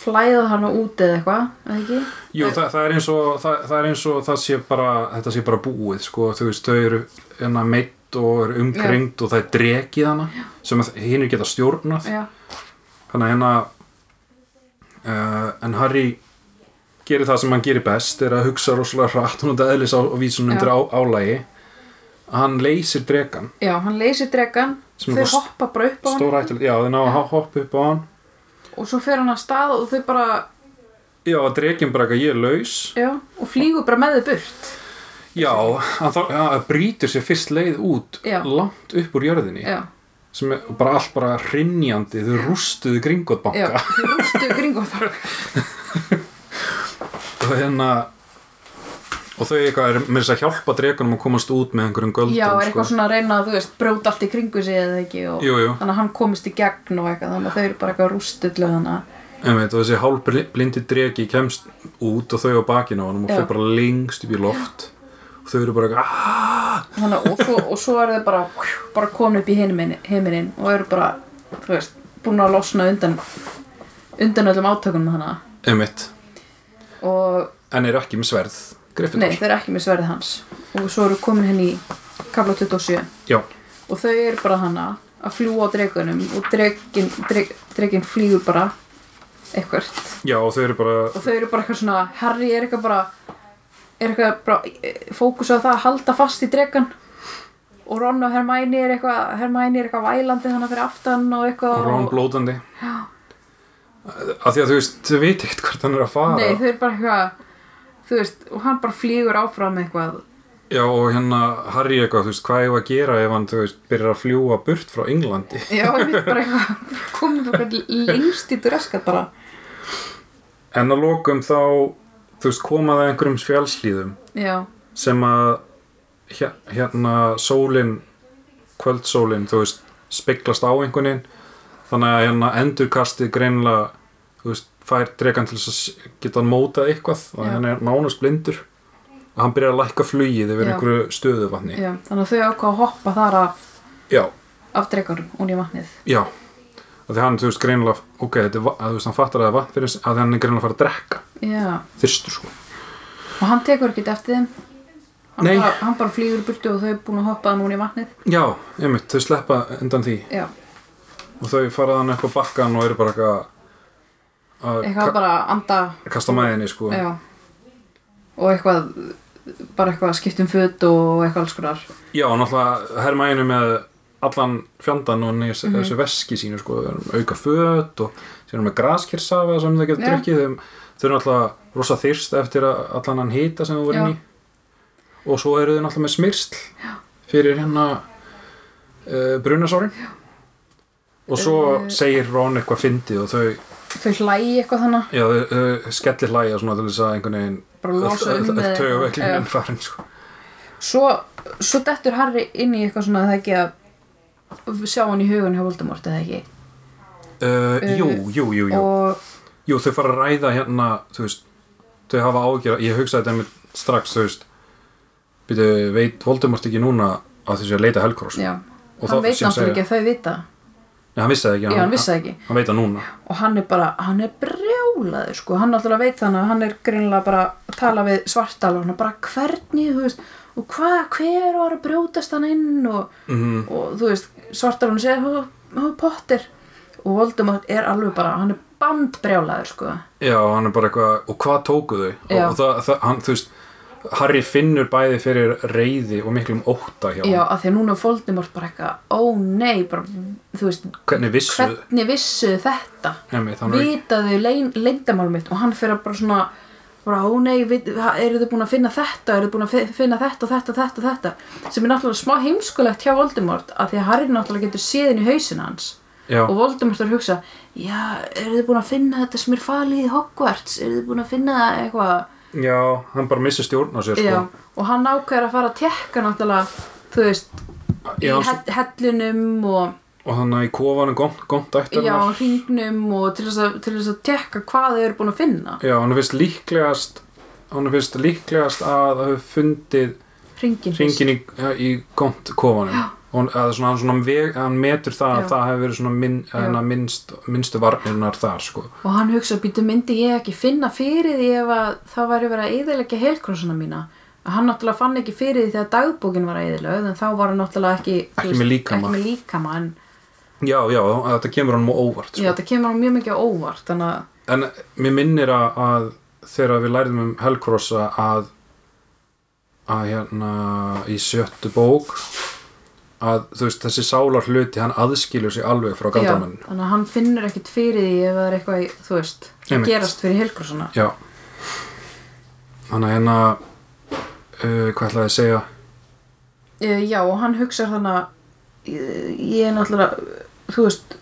[SPEAKER 1] flæða hana út eða eitthvað eða ekki?
[SPEAKER 2] Jú,
[SPEAKER 1] Nei.
[SPEAKER 2] það, það, er eins og, það, það er eins og það sé bara, þetta sé bara búið sko. þú veist, þau eru hérna, meitt hrætt og er umkringd og það er drekið hana sem hinn geta stjórnað
[SPEAKER 1] já,
[SPEAKER 2] þannig að hérna uh, en Harry gerir það sem hann gerir best er að hugsa rosalega hratt hún þetta eðlis á, á vísunum
[SPEAKER 1] Já.
[SPEAKER 2] undir á, álægi hann leysir drekan
[SPEAKER 1] já, hann leysir dregan
[SPEAKER 2] Sem
[SPEAKER 1] þau
[SPEAKER 2] er bara
[SPEAKER 1] hoppa bara upp á hann
[SPEAKER 2] stórættilega, já þeir ná að hoppa upp á hann
[SPEAKER 1] og svo fer hann að stað og þau bara
[SPEAKER 2] já að drekin bara ekki ég er laus
[SPEAKER 1] já, og flýgur bara með þau burt
[SPEAKER 2] já, hann þá hann brýtur sér fyrst leið út
[SPEAKER 1] Já.
[SPEAKER 2] langt upp úr jörðinni
[SPEAKER 1] já,
[SPEAKER 2] sem er bara allt bara hrinnjandi þau rústuðu
[SPEAKER 1] já,
[SPEAKER 2] gringotbanka
[SPEAKER 1] þau rústu kring og það
[SPEAKER 2] og hérna og þau eitthvað er með þess að hjálpa drekunum að komast út með einhverjum göldum
[SPEAKER 1] já, er
[SPEAKER 2] sko.
[SPEAKER 1] eitthvað svona að reyna að þú veist brjóta allt í kringu sig eða ekki og
[SPEAKER 2] Jú, jú.
[SPEAKER 1] þannig að hann komist í gegn og eitthvað þannig að þau eru bara eitthvað rústullu þannig
[SPEAKER 2] Einmitt, og þessi hálblindi dregi kemst út og þau á bakinu á hann og
[SPEAKER 1] Já.
[SPEAKER 2] þau bara lengst upp í loft og þau eru bara eitthvað "Ah!"
[SPEAKER 1] að og svo, og svo eru þau bara, bara komin upp í heiminin og eru bara, þú veist, búin að losna undan undan öllum átökunum þannig að
[SPEAKER 2] einmitt,
[SPEAKER 1] og
[SPEAKER 2] en er ekki með sverð
[SPEAKER 1] nei,
[SPEAKER 2] Gryffindor
[SPEAKER 1] þau eru ekki með sverðið hans og svo eru komin henni í kafla 27
[SPEAKER 2] Já,
[SPEAKER 1] og þau eru bara hana að fljúa á dregunum og dregin, dreg, dregin flýgur bara eitthvert
[SPEAKER 2] já, og þau eru bara
[SPEAKER 1] og þau eru bara eitthvað svona Harry er eitthvað bara er eitthvað bara eh, fókus á það að halda fast í dregan og Ron og Hermæni er eitthvað Hermæni er eitthvað vælandi þannig fyrir aftan og eitthvað
[SPEAKER 2] Ron blótandi af því að þau veist, þau veit ekkert hvert hann er að fara
[SPEAKER 1] Nei, þau eru bara eitthvað þú veist, og hann bara flýgur áfram eitthvað
[SPEAKER 2] já, og hérna Harry eitthvað, þú veist, hvað ég að gera ef hann, þú veist, byrjar að fljúa burt frá Englandi
[SPEAKER 1] Já, hann er bara eitthvað komið bara eitthvað lengst í dreskat bara
[SPEAKER 2] en að lokum þá, þú veist, komaði einhverjum fjálslíðum
[SPEAKER 1] Já,
[SPEAKER 2] sem að hér- hérna sólin kvöldsólin, þú veist, speglast á einhvern veginn, þannig að hérna endurkastið greinlega þú veist, fær dregan til þess að s- geta hann mótað eitthvað og
[SPEAKER 1] Já.
[SPEAKER 2] hann er nánast blindur og hann byrjar að lækka flugið yfir
[SPEAKER 1] Já.
[SPEAKER 2] einhverju stöðuvatni
[SPEAKER 1] já, þannig að þau ákvað að hoppa þar af,
[SPEAKER 2] já,
[SPEAKER 1] af dregarum og nýja vatnið
[SPEAKER 2] já og því hann, þú veist, greinlega, ok, þetta er, va- að, þú veist, hann fattar að það er vatn fyrir að hann er greinlega að fara að drekka
[SPEAKER 1] Já,
[SPEAKER 2] þyrstur sko
[SPEAKER 1] og hann tekur ekkert eftir þeim hann
[SPEAKER 2] Nei.
[SPEAKER 1] bara, hann bara flýgur í burtu og þau er búin að hoppa núna í vatnið
[SPEAKER 2] já, einmitt, þau sleppa undan því
[SPEAKER 1] Já,
[SPEAKER 2] og þau fara þannig upp á bakkan og eru bara eitthvað að
[SPEAKER 1] eitthvað bara að anda
[SPEAKER 2] kasta mæðinni sko
[SPEAKER 1] Já og eitthvað bara eitthvað að skipta um föt og eitthvað alls konar
[SPEAKER 2] já og náttúrulega hermæðinu með allan fjandan og nýs,
[SPEAKER 1] Mhm.
[SPEAKER 2] þessu veski sínu sko, þau erum auka föt og þau erum með graskirsafa sem þau getur
[SPEAKER 1] Já.
[SPEAKER 2] drukkið þau, þau eru náttúrulega rosa þyrst eftir að allan hann hita sem þau voru
[SPEAKER 1] Já.
[SPEAKER 2] inn í og svo eru þau náttúrulega með smyrsl fyrir hérna uh, brunasárin og svo
[SPEAKER 1] Eh.
[SPEAKER 2] segir Ron eitthvað fyndið og þau,
[SPEAKER 1] þau hlægi eitthvað þannig
[SPEAKER 2] já, þau, þau skellir hlæja svona til þess að einhvern veginn
[SPEAKER 1] bara losa um með-
[SPEAKER 2] taugaveiklun
[SPEAKER 1] Já.
[SPEAKER 2] en farin sko.
[SPEAKER 1] svo, svo dettur Harry inn í eitthvað svona er það ekki að sjá hann í hugun hjá Voldemort eða ekki
[SPEAKER 2] uh, jú, jú, jú, jú.
[SPEAKER 1] Eh, og
[SPEAKER 2] Jú, þau fara að ræða hérna, þú veist, þau hafa ágjör, ég hugsaði þetta með strax, þú veist, býtu, veit Voldemort ekki núna að þessu að leita Helgrós?
[SPEAKER 1] já,
[SPEAKER 2] Og
[SPEAKER 1] hann
[SPEAKER 2] þá
[SPEAKER 1] veit
[SPEAKER 2] sem segja-
[SPEAKER 1] náttúrulega ekki að þau vita
[SPEAKER 2] Nei, hann vissi það ekki,
[SPEAKER 1] já, hann vissi það ekki
[SPEAKER 2] Hann, hann veit það núna.
[SPEAKER 1] og hann er bara, hann er brjálaður sko, hann náttúrulega veit þannig að hann er greinlega bara að tala við svartal og hann er bara hvernig, þú veist, og hvað hver var að brjótast hann inn og,
[SPEAKER 2] Mhm.
[SPEAKER 1] og þú veist, svartal hann segir hó, hó, pottir og Voldemort er alveg bara, hann er bandbrjálaður sko,
[SPEAKER 2] Já, hann er bara eitthvað, og hvað tóku þau? Og,
[SPEAKER 1] Já.
[SPEAKER 2] og það, það, hann, þú veist, Harry finnur bæði fyrir reyði og miklum ótta hjá
[SPEAKER 1] já,
[SPEAKER 2] hann.
[SPEAKER 1] af því að núna er Voldemort bara eitthvað, ó nei bara, þú veist,
[SPEAKER 2] Hvernig vissu? Hvern...
[SPEAKER 1] hvernig vissu þetta
[SPEAKER 2] Nemi, þannig, Við...
[SPEAKER 1] vitaðu leyndamál mitt og hann fyrir að bara svona bara, ó nei, vit- ha- eru þið búin að finna þetta eru þið búin að fi- finna þetta, þetta, þetta, þetta sem er náttúrulega smá heimskulegt hjá Voldemort að því að Harry náttúrulega getur séðin í hausin hans
[SPEAKER 2] já,
[SPEAKER 1] og Voldemort er að hugsa já, eru þið búin að finna þetta sem er falið í Hogwarts eru þið búin að finna eitthvað
[SPEAKER 2] já, hann bara missir stjórn á sér, sko.
[SPEAKER 1] já, og hann ákveður að fara að tekka náttúrulega, þú veist í
[SPEAKER 2] Já, hann-
[SPEAKER 1] hell- hellunum og
[SPEAKER 2] og þannig í kofanum gómt, gómt ættur
[SPEAKER 1] já, hringnum og til þess að, til þess að tekka hvað þau eru búin að finna
[SPEAKER 2] Já, hann finnst líklegast hann finnst líklegast að það hefur fundið
[SPEAKER 1] hringin
[SPEAKER 2] hringin í, í gómt kofanum og hann, að svona, hann, svona veg, hann metur það
[SPEAKER 1] Já.
[SPEAKER 2] að það hefur verið svona minn, hana, minnst, minnstu varnirnar þar sko.
[SPEAKER 1] Og hann hugsa, býtu myndi ég ekki finna fyrir því ef að það væri verið að eyðileggja helkrósuna mína. Að hann náttúrulega fann ekki fyrir því þegar dagbókin var eðilöð en þá var hann náttúrulega ekki þú
[SPEAKER 2] Ekki með líkama.
[SPEAKER 1] ekki með líkama en
[SPEAKER 2] já, já, þetta kemur honum á óvart
[SPEAKER 1] já,
[SPEAKER 2] sko.
[SPEAKER 1] þetta kemur hann mjög mikið á óvart þannig að
[SPEAKER 2] en mér minnir að, að þegar við læriðum um Hellcrossa að að hérna í sjöttu bók að þú veist þessi sálar hluti hann aðskilur sig alveg frá
[SPEAKER 1] já,
[SPEAKER 2] galdramann
[SPEAKER 1] þannig að hann finnur ekkit fyrir því ef það er eitthvað, í- þú veist,
[SPEAKER 2] Einmitt.
[SPEAKER 1] Einmitt. gerast fyrir Helgursona
[SPEAKER 2] Já Þannig að hérna uh, Hvað ætlaði að segja
[SPEAKER 1] uh, já, og hann hugsar þannig að eh, ég er náttúrulega, þú veist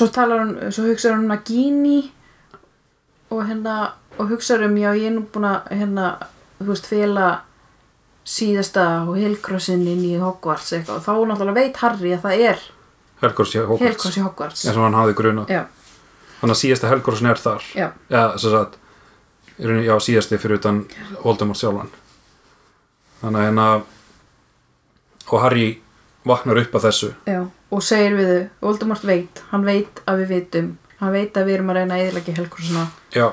[SPEAKER 1] svo talar hann, svo hugsar hann um að Gini og hérna og hugsar um, já, ég er nú búin að hérna, þú veist, fela síðasta og helkrossin inn í Hogwarts eitthvað og þá náttúrulega veit Harry að það er
[SPEAKER 2] Helgors í Hogwarts
[SPEAKER 1] helkross í Hogwarts
[SPEAKER 2] eins og hann hafði grunað
[SPEAKER 1] já,
[SPEAKER 2] Þannig að síðasta Helgorsin er þar
[SPEAKER 1] já,
[SPEAKER 2] Já, sem sagt í rauninni, Já, síðasti fyrir utan Voldemort sjálfan Þannig að hérna Og Harry vaknar upp að þessu
[SPEAKER 1] já og segir við þau, Voldemort veit hann veit að við vitum hann veit að við erum að reyna að eðilegja helkrossina
[SPEAKER 2] Já,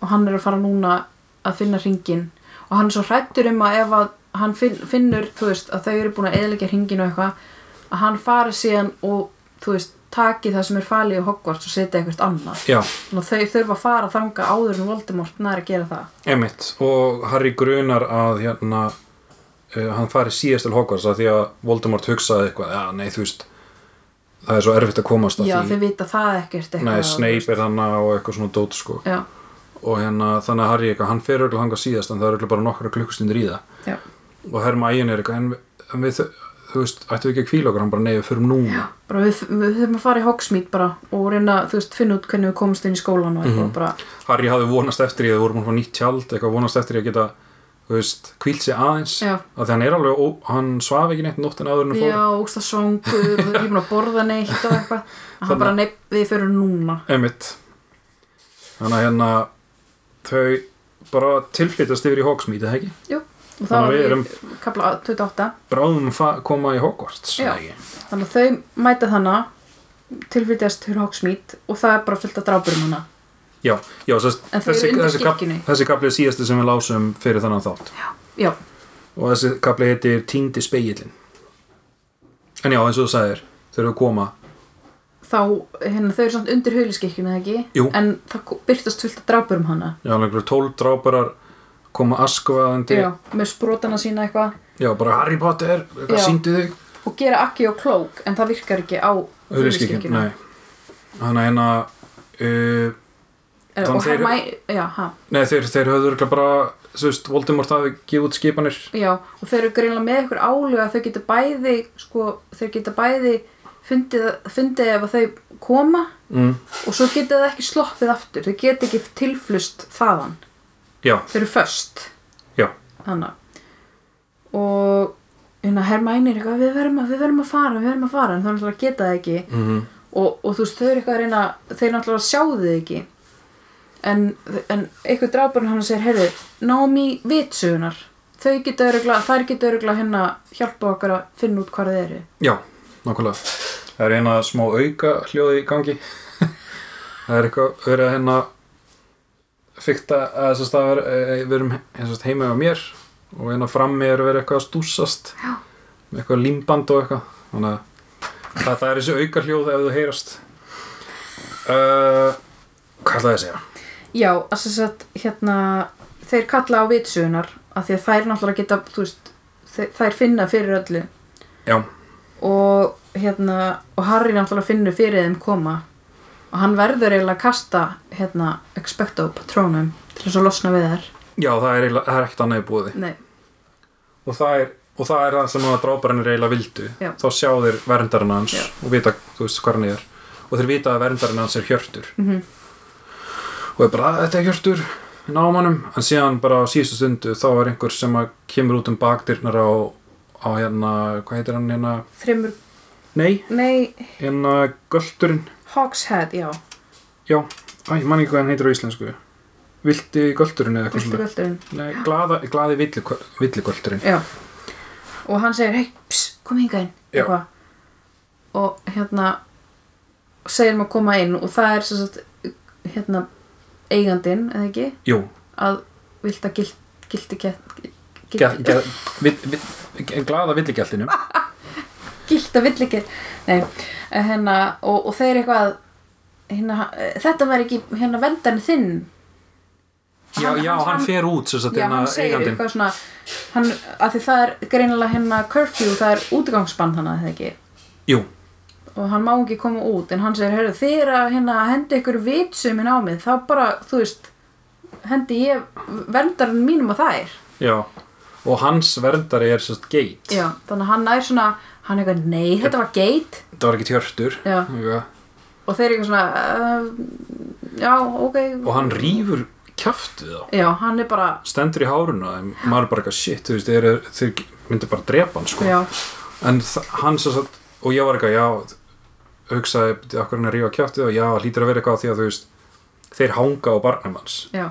[SPEAKER 1] og hann er að fara núna að finna ringin og hann er svo hrættur um að ef að hann finn, finnur, þú veist, að þau eru búin að eðilegja ringin og eitthvað að hann fari síðan og, þú veist, taki það sem er falið í Hogwarts og setja eitthvað annað
[SPEAKER 2] já,
[SPEAKER 1] þannig að þau þurfa að fara að þanga áður en Voldemort nær að gera það
[SPEAKER 2] emitt Og Harry grunar að hérna uh, Hann fari síðast til Hogwarts af Því að Voldemort hugsaði eitthvað Já, nei, þú veist Það er svo erfitt að komast að
[SPEAKER 1] já,
[SPEAKER 2] því
[SPEAKER 1] þau vita það ekkert
[SPEAKER 2] Nei,
[SPEAKER 1] eitthvað
[SPEAKER 2] Snape er þannig og eitthvað svona dót sko
[SPEAKER 1] já,
[SPEAKER 2] og hérna þannig að Harry eitthvað, hann fer örugglega þangað síðast en það er örugglega bara nokkra klukkustundir í það
[SPEAKER 1] já,
[SPEAKER 2] og Hermæin er eitthvað en við, en við þú veist, ættum við ekki að kvíla okkur hann bara nei, við förum núna
[SPEAKER 1] bara við, við þurfum að fara í Hogsmeade bara og reyna, þú veist, finna út hvernig við komumst inn í skólan og eitthvað
[SPEAKER 2] Mhm.
[SPEAKER 1] bara,
[SPEAKER 2] Harry hafði vonast eftir í það, voru búin að fá nýtt tjald eitthvað vonast eftir í að geta, þú veist, kvílt sig aðeins
[SPEAKER 1] Já.
[SPEAKER 2] að því hann er alveg, ó, hann svaf ekki neitt nóttin áður en hann
[SPEAKER 1] já,
[SPEAKER 2] fór
[SPEAKER 1] ústa svangur og þau er ekki búin að borða neitt og eitthvað að hann bara, nei, við fyrir núna
[SPEAKER 2] Einmitt. þannig að hérna þau bara tilflytast yfir í Hogsmeade, eða ekki?
[SPEAKER 1] Jú, og
[SPEAKER 2] Þannig
[SPEAKER 1] þá
[SPEAKER 2] að við
[SPEAKER 1] erum
[SPEAKER 2] erum-
[SPEAKER 1] við kapla 28
[SPEAKER 2] Bráðum að fa- koma í Hogwarts, eða
[SPEAKER 1] Já.
[SPEAKER 2] ekki?
[SPEAKER 1] þannig að þau mæta þannig tilflytjast til Hogsmeade og það er bara fullt af drápurum hana
[SPEAKER 2] Já, já sest,
[SPEAKER 1] En þau eru undir kirkjunni.
[SPEAKER 2] þessi kapli er síðasti sem við lásum fyrir þannan þátt
[SPEAKER 1] já,
[SPEAKER 2] og þessi kapli heitir Týndi speigillin En já, eins og þú sagðir þau eru að koma
[SPEAKER 1] þá, hérna, þau eru samt undir huliskikkjunni eða ekki
[SPEAKER 2] Jú.
[SPEAKER 1] en það ko- birtast fullt af drápurum hana
[SPEAKER 2] já, einhverjum tólf dráparar koma askvaðandi
[SPEAKER 1] já, með sprótana sína eitthvað
[SPEAKER 2] já, bara Harry Potter,
[SPEAKER 1] Já.
[SPEAKER 2] hvað sýndu þig
[SPEAKER 1] og gera akki og klók en það virkar ekki á
[SPEAKER 2] Huliskikkin,
[SPEAKER 1] huliskikkjunni
[SPEAKER 2] nei Þannig að hérna uh,
[SPEAKER 1] og
[SPEAKER 2] Þannig þeir-
[SPEAKER 1] Hermæ, já, ha,
[SPEAKER 2] Nei, þeir, þeir höfðu örugglega bara þú veist, Voldemort hafi gefið út skipanir
[SPEAKER 1] já og þeir eru greinlega með ykkur álu að þau geta bæði sko, þeir geta bæði fundið, fundið ef að þau koma
[SPEAKER 2] mm.
[SPEAKER 1] og svo geta það ekki sloppið aftur þau geta ekki tilflust þaðan
[SPEAKER 2] Já,
[SPEAKER 1] þau eru föst
[SPEAKER 2] já,
[SPEAKER 1] þannig og hérna Hermæni er eitthvað við verðum að, við verðum að fara, við verðum að fara en þau náttúrulega geta það ekki
[SPEAKER 2] mm
[SPEAKER 1] og, og þú veist þau eru eitthvað að reyna þeir náttúrulega sjáðu þið ekki en, en einhver dráparinn hann segir heyrðu, Naomi vitsugunar þau geta örugla, þær geta örugla hérna hjálpa okkur að finna út hvar þið eru
[SPEAKER 2] Já, nákvæmlega Það er eina smá auka hljóði í gangi Það er eitthvað verið að hérna fykta að þess að vera, eh, við erum eh, sem sagt, heima á mér og hérna frammi er verið eitthvað að stúsast
[SPEAKER 1] Já.
[SPEAKER 2] með eitthvað límband og eitthvað þannig að það, það er þessi auka hljóð ef þú heyrast uh, Hvað ætlaði að segja?
[SPEAKER 1] Já, að sem sagt, hérna, þeir kalla á vitsugunar af því að þær náttúrulega geta, þú veist, þe- þær finna fyrir öllu
[SPEAKER 2] Já,
[SPEAKER 1] og hérna, og Harry náttúrulega finnur fyrir þeim koma og hann verður eiginlega að kasta, hérna, expecto patronum til þess að losna við þær.
[SPEAKER 2] Já það, er, eiginlega- það er ekkert annað í búði
[SPEAKER 1] Nei,
[SPEAKER 2] og það er, og það, er það sem að dráparinn er eiginlega vildu
[SPEAKER 1] Já.
[SPEAKER 2] þá sjá þeir verndarinn hans
[SPEAKER 1] Já.
[SPEAKER 2] og vita þú veist hvað hann er og þeir vita að verndarinn hans er hjörtur
[SPEAKER 1] Mhm.
[SPEAKER 2] og er bara þetta er hjörtur námanum en síðan bara á síðustu stundu þá er einhver sem að kemur út um bakdyrnar á, á hérna, hvað heitir hann hérna
[SPEAKER 1] þreymur,
[SPEAKER 2] nei,
[SPEAKER 1] nei,
[SPEAKER 2] hérna gölturinn
[SPEAKER 1] Hogshead, já,
[SPEAKER 2] já, æ, ég man ekki hvað hann heitir á íslensku vilti gölturinn eða eitthvað
[SPEAKER 1] viltu
[SPEAKER 2] svona
[SPEAKER 1] völdurinn,
[SPEAKER 2] nei, glaða, glaði villigölturinn
[SPEAKER 1] já. Og hann segir, hei, pss, kom hinga inn,
[SPEAKER 2] Já.
[SPEAKER 1] eitthvað. Og hérna, segir maður að koma inn og það er sem sagt, hérna, eigandinn, eða ekki?
[SPEAKER 2] jú,
[SPEAKER 1] að vilt að gilt, gildi,
[SPEAKER 2] Gæ- gæ- vill- vill- gæ- glaða villigeltinum
[SPEAKER 1] gilt að vill ekki Nei, eh, hérna, og, og þeir eitthvað hérna, eh, þetta var ekki hérna vendan þinn
[SPEAKER 2] já, já, hann fer út sem sagt,
[SPEAKER 1] já,
[SPEAKER 2] hérna,
[SPEAKER 1] hann segir
[SPEAKER 2] eigandinn.
[SPEAKER 1] eitthvað svona hann, að því það er greinilega hérna curfew, það er útgangsbann hann að það ekki
[SPEAKER 2] jú,
[SPEAKER 1] og hann má ekki koma út en hann segir, heyrðu, þið er að hérna, hendi ykkur vitsum í námið, þá bara, þú veist hendi ég verndarinn mínum að það er
[SPEAKER 2] já og hans verndari er sérst geit
[SPEAKER 1] já, þannig að hann er svona hann er eitthvað, nei, þetta var geit
[SPEAKER 2] það var ekki tjörtur
[SPEAKER 1] Já.
[SPEAKER 2] Eitthvað.
[SPEAKER 1] og þeir eru eitthvað svona uh, já, ok
[SPEAKER 2] og hann rýfur kjaft við þá
[SPEAKER 1] já, hann er bara,
[SPEAKER 2] stendur í háruna þeim, maður er bara eitthvað shit þú veist, þeir, eru- þeir myndu bara að drepa hann sko.
[SPEAKER 1] já,
[SPEAKER 2] en þa- hann sem sagt og ég var eitthvað, já hugsaði, "Bíddu, af hverju er hann að rífa kjáttið og já, hlýtur að vera eitthvað af því að þú veist þeir hanga á barnum hans
[SPEAKER 1] já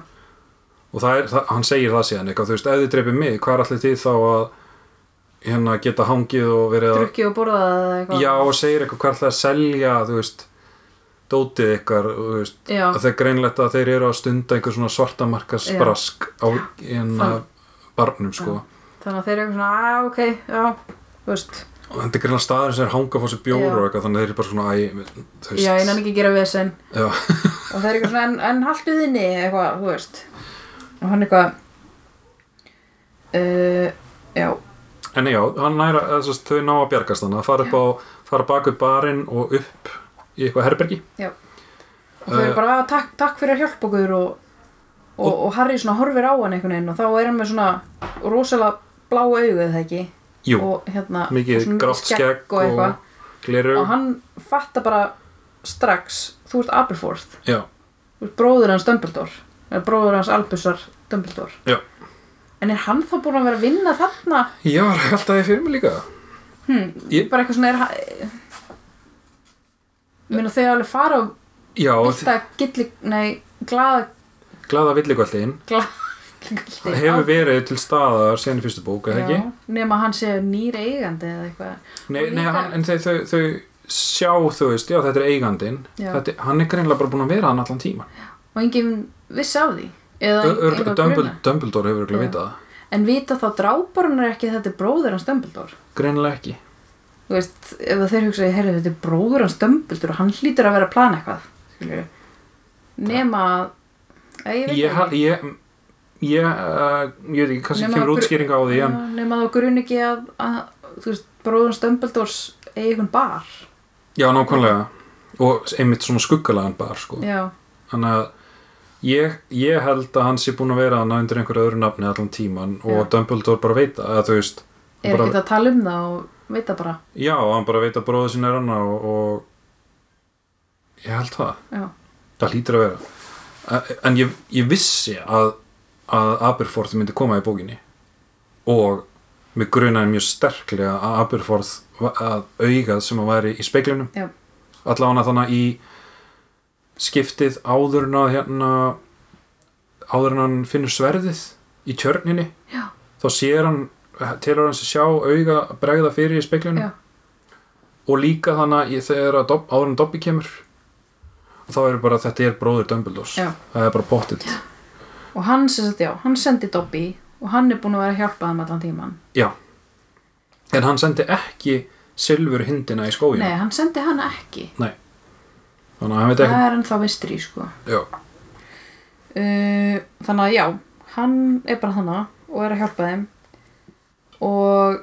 [SPEAKER 2] og það er, það, hann segir það síðan eitthvað, þú veist, ef þið dreipið mig, hvað er allir þið þá að hérna geta hangið og verið að,
[SPEAKER 1] drukki og borðað eða eitthvað
[SPEAKER 2] já og segir eitthvað hvað ætlaði að selja, þú veist dótið ykkar, og þú veist
[SPEAKER 1] já,
[SPEAKER 2] að það er greinlegt að þeir eru að stunda einhver svona svartamarkasbrask á hérna barnum sko
[SPEAKER 1] þannig að þeir eru eitthvað svona, að, ok, já þú veist,
[SPEAKER 2] og þetta er greinlega staður sem er hanga fór sér bjóru
[SPEAKER 1] Já.
[SPEAKER 2] og eitthvað, þannig að þeir eru bara svona æ,
[SPEAKER 1] já,
[SPEAKER 2] þú
[SPEAKER 1] ég
[SPEAKER 2] veist,
[SPEAKER 1] nenni ekki að gera vesen
[SPEAKER 2] já,
[SPEAKER 1] og það er eitthvað svona en, en haltu þinni eitthvað, þú veist og hann eitthvað uh, já,
[SPEAKER 2] En já, hann næra, þess, þau ná að bjargast hann að fara upp á, fara bak upp barinn og upp í eitthvað herbergi
[SPEAKER 1] já og þau eru
[SPEAKER 2] Eh.
[SPEAKER 1] bara, að, takk, takk fyrir að hjálpa okkur og, og, og, Harry svona horfir á hann einhvern veginn og þá er hann með svona rosalega blá augu eða ekki
[SPEAKER 2] Jú,
[SPEAKER 1] og hérna og
[SPEAKER 2] mikið
[SPEAKER 1] svona
[SPEAKER 2] grátt skegg
[SPEAKER 1] og
[SPEAKER 2] og,
[SPEAKER 1] eitthvað
[SPEAKER 2] og gleru
[SPEAKER 1] og hann fattar bara strax þú ert Aberforth,
[SPEAKER 2] Já,
[SPEAKER 1] þú ert bróður hans Dumbledore eða bróður hans Albusar Dumbledore
[SPEAKER 2] Já.
[SPEAKER 1] en er hann þá búin að vera að vinna þarna
[SPEAKER 2] já, held að ég fyrir mig líka Ég-
[SPEAKER 1] bara eitthvað svona er ha- Ég meina þau alveg fara og
[SPEAKER 2] Já,
[SPEAKER 1] bylta gilli, nei, glaða
[SPEAKER 2] glaða villigvallin
[SPEAKER 1] glaða
[SPEAKER 2] hefur verið til staðar síðan í fyrstu bók, eða ekki?
[SPEAKER 1] nema hann sé nýr eigandi eða eitthvað
[SPEAKER 2] Nei,
[SPEAKER 1] Og
[SPEAKER 2] nei
[SPEAKER 1] líka-
[SPEAKER 2] hann, en þau, þau, þau sjá, þú veist, já, þetta er eigandinn
[SPEAKER 1] Já.
[SPEAKER 2] þetta, er- Hann er greinlega bara búin að vera hann allan tíma
[SPEAKER 1] og enginn vissi af því eða
[SPEAKER 2] Örg,
[SPEAKER 1] engan
[SPEAKER 2] Dumbledore,
[SPEAKER 1] grunaði.
[SPEAKER 2] Dumbledore hefur
[SPEAKER 1] Já.
[SPEAKER 2] ekki vitað það
[SPEAKER 1] en vita þá drápar hann ekki að þetta er bróður hans Dumbledore
[SPEAKER 2] Greinlega ekki
[SPEAKER 1] þú veist, ef að þeir hugsaði, heyrðu, þetta er bróður hans Dumbledore og hann hlýtur að vera að plana eitthvað skilurðu. nema að Æ, ég veit
[SPEAKER 2] Ég,
[SPEAKER 1] það
[SPEAKER 2] hal-
[SPEAKER 1] ekki.
[SPEAKER 2] ég, ég, uh, ég veit ekki, kannski
[SPEAKER 1] Nema
[SPEAKER 2] kemur
[SPEAKER 1] okkur-
[SPEAKER 2] útskýringa á því en,
[SPEAKER 1] Já, nema það okkur unni ekki að, að þú veist, bróður hans Dumbledores eigi einhvern bar
[SPEAKER 2] Já, nákvæmlega og einmitt svona skuggalagan bar sko.
[SPEAKER 1] já,
[SPEAKER 2] þannig að ég, ég held að hann sé búin að vera hann undir einhverju öðru nafni allan tíman
[SPEAKER 1] Já.
[SPEAKER 2] og Dumbledore bara veit að þú veist
[SPEAKER 1] er
[SPEAKER 2] bara,
[SPEAKER 1] ekkert að tala um það og veit það bara
[SPEAKER 2] Já, hann bara veit að bróða sinna er hann og, og ég held það
[SPEAKER 1] já,
[SPEAKER 2] það hlýtur að vera En- en ég, ég vissi að, að Aberforth myndi koma í bókinni og mig grunaði mjög sterklega að Aberforth va- að augað sem að væri í speiklinum
[SPEAKER 1] já,
[SPEAKER 2] allavega þannig í skiptið áður en að hérna áður en hann finnur sverðið í tjörninni
[SPEAKER 1] Já.
[SPEAKER 2] þá sér hann telur hann sér sjá auga bregða fyrir í
[SPEAKER 1] já,
[SPEAKER 2] speiklunum og líka þannig að ég- þegar að Dob- áður en Dobby kemur þá er bara þetta er bróður Dumbledore
[SPEAKER 1] Já.
[SPEAKER 2] það er bara pottitt já.
[SPEAKER 1] og hann sem sagt, já, hann sendi Dobby og hann er búin að vera að hjálpa þeim allan tíman
[SPEAKER 2] en hann sendi ekki silfur hindina í skóin
[SPEAKER 1] nei, hann sendi hana ekki
[SPEAKER 2] þannig að hann veit
[SPEAKER 1] það
[SPEAKER 2] ekki
[SPEAKER 1] er ennþá vistri, sko
[SPEAKER 2] já.
[SPEAKER 1] Uh, þannig að já, hann er bara þannig og er að hjálpa þeim og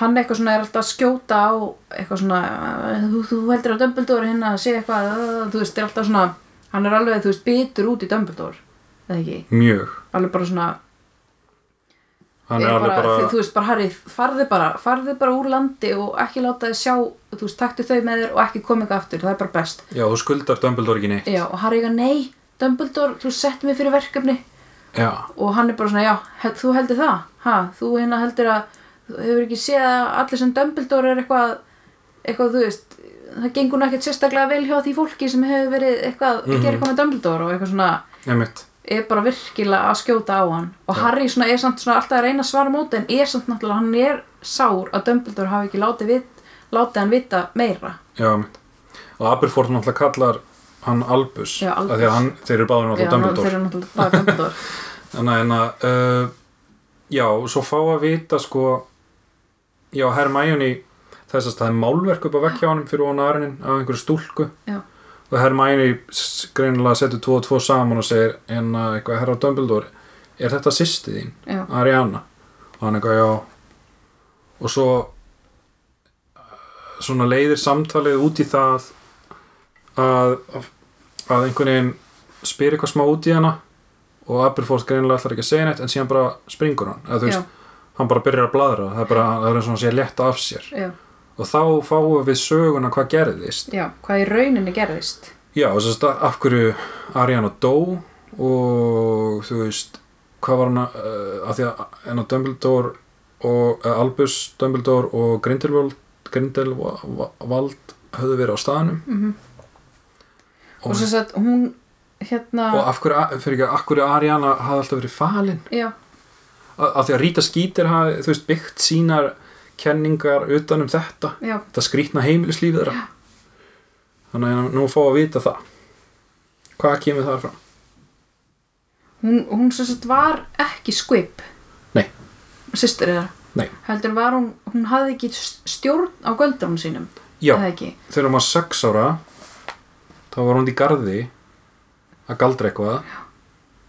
[SPEAKER 1] hann eitthvað svona er alltaf að skjóta á eitthvað svona, uh, þú, þú heldur að Dumbledore hérna að segja eitthvað, uh, þú veist, er alltaf svona hann er alveg, þú veist, bitur út í Dumbledore eða ekki,
[SPEAKER 2] mjög
[SPEAKER 1] alveg bara svona
[SPEAKER 2] hann er, alveg bara,
[SPEAKER 1] þú, þú veist, bara Harry, farði bara farði bara úr landi og ekki láta þið sjá þú veist, taktu þau með þér og ekki komið aftur það er bara best
[SPEAKER 2] já þú skuldar Dumbledore ekki neitt
[SPEAKER 1] já, og Harry eitthvað, nei, Dumbledore, þú sett mig fyrir verkefni
[SPEAKER 2] já,
[SPEAKER 1] og hann er bara svona, já, he- þú heldur það ha, þú hérna heldur að þú hefur ekki séð að allir sem Dumbledore er eitthvað eitthvað, þú veist það gengur nú ekkert sérstaklega vel hjá því fólki sem hefur verið eitthvað, mm
[SPEAKER 2] Mhm.
[SPEAKER 1] gera eitthvað með Dumbledore og eitthvað svona,
[SPEAKER 2] nefnitt
[SPEAKER 1] er bara virkilega að skjóta á hann og
[SPEAKER 2] Já.
[SPEAKER 1] Harry svona er samt svona alltaf að reyna að svara á móti en er samt náttúrulega, hann er sár að Dumbledore hafi ekki látið, vit, látið hann vita meira
[SPEAKER 2] Já, mitt. og Aberforth náttúrulega kallar hann Albus,
[SPEAKER 1] Já, Albus.
[SPEAKER 2] af því að hann, þeir eru báður
[SPEAKER 1] Já, ná-
[SPEAKER 2] náttúrulega
[SPEAKER 1] þeir
[SPEAKER 2] Dumbledore
[SPEAKER 1] eru náttúrulega bara Dumbledore
[SPEAKER 2] þannig að hérna, uh, já, og svo fá að vita sko já, Hermione þess að það er málverk upp að vekja honum fyrir vona arinin af einhverju stúlku
[SPEAKER 1] Já.
[SPEAKER 2] og Hermione s- greinilega setur tvo og tvo saman og segir en að eitthvað herra Dumbledore er þetta systið þín,
[SPEAKER 1] já,
[SPEAKER 2] Ariana og hann eitthvað já og svo eh, svona leiðir samtalið út í það að að einhvern veginn spyr eitthvað smá út í hana og Aberforth greinilega ætlar ekki að segja neitt en síðan bara springur hann eða þú
[SPEAKER 1] já,
[SPEAKER 2] veist, hann bara byrjar að bladra það er bara, það er eins og hann sé að létta af sér
[SPEAKER 1] já,
[SPEAKER 2] og þá fáum við söguna hvað gerðist
[SPEAKER 1] já, hvað í rauninni gerðist
[SPEAKER 2] já, og þess að af hverju Ariana dó og þú veist hvað var hann að, uh, að því að henn að Dumbledore og uh, Albus Dumbledore og Grindelwald Grindelwald höfðu verið á staðanum
[SPEAKER 1] mm
[SPEAKER 2] og,
[SPEAKER 1] og svo satt hún hérna
[SPEAKER 2] og af hverju, fyrir ekki, af hverju Ariana hafði alltaf verið falin
[SPEAKER 1] já,
[SPEAKER 2] að, að því að Rita Skeeter hafi, þú veist, byggt sínar kenningar utan um þetta
[SPEAKER 1] já,
[SPEAKER 2] þetta skrýtna heimilislífið þeirra þannig að nú fá að vita það hvað kemur þar fram?
[SPEAKER 1] hún, hún svo satt var ekki skvip
[SPEAKER 2] Nei.
[SPEAKER 1] systir þeirra
[SPEAKER 2] Nei.
[SPEAKER 1] heldur var hún, hún hafði ekki stjórn á göldrunum sínum
[SPEAKER 2] Já,
[SPEAKER 1] eða ekki
[SPEAKER 2] þegar hún var sex ára þá var hún í garði að galdra eitthvað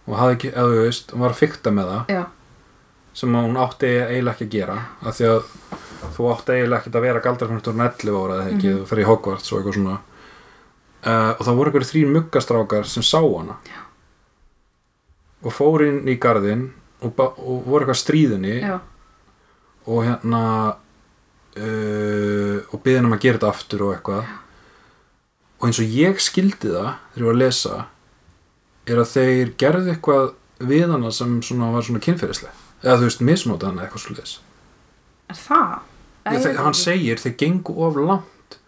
[SPEAKER 2] og hafði ekki, eða þú veist, hún var að fykta með það
[SPEAKER 1] já,
[SPEAKER 2] sem að hún átti eiginlega ekki að gera af því að þú átti eiginlega ekki að vera galdrafnur þú er 11 ára eða
[SPEAKER 1] Mhm.
[SPEAKER 2] ekki, þú fer í Hogwarts og eitthvað svona uh, og það voru einhverjir þrín muggastrákar sem sá hana Já. og fór inn í garðin og, ba- og voru eitthvað stríðinni
[SPEAKER 1] já,
[SPEAKER 2] og hérna uh, og byðin um að gera þetta aftur og eitthvað og eins og ég skildi það þegar ég var að lesa er að þeir gerðu eitthvað við hana sem svona var svona kynferðisleg eða þú veist misnóta hana eitthvað svo leis
[SPEAKER 1] er það? Æ, ég veit
[SPEAKER 2] hann
[SPEAKER 1] ekki.
[SPEAKER 2] segir þeir gengu of langt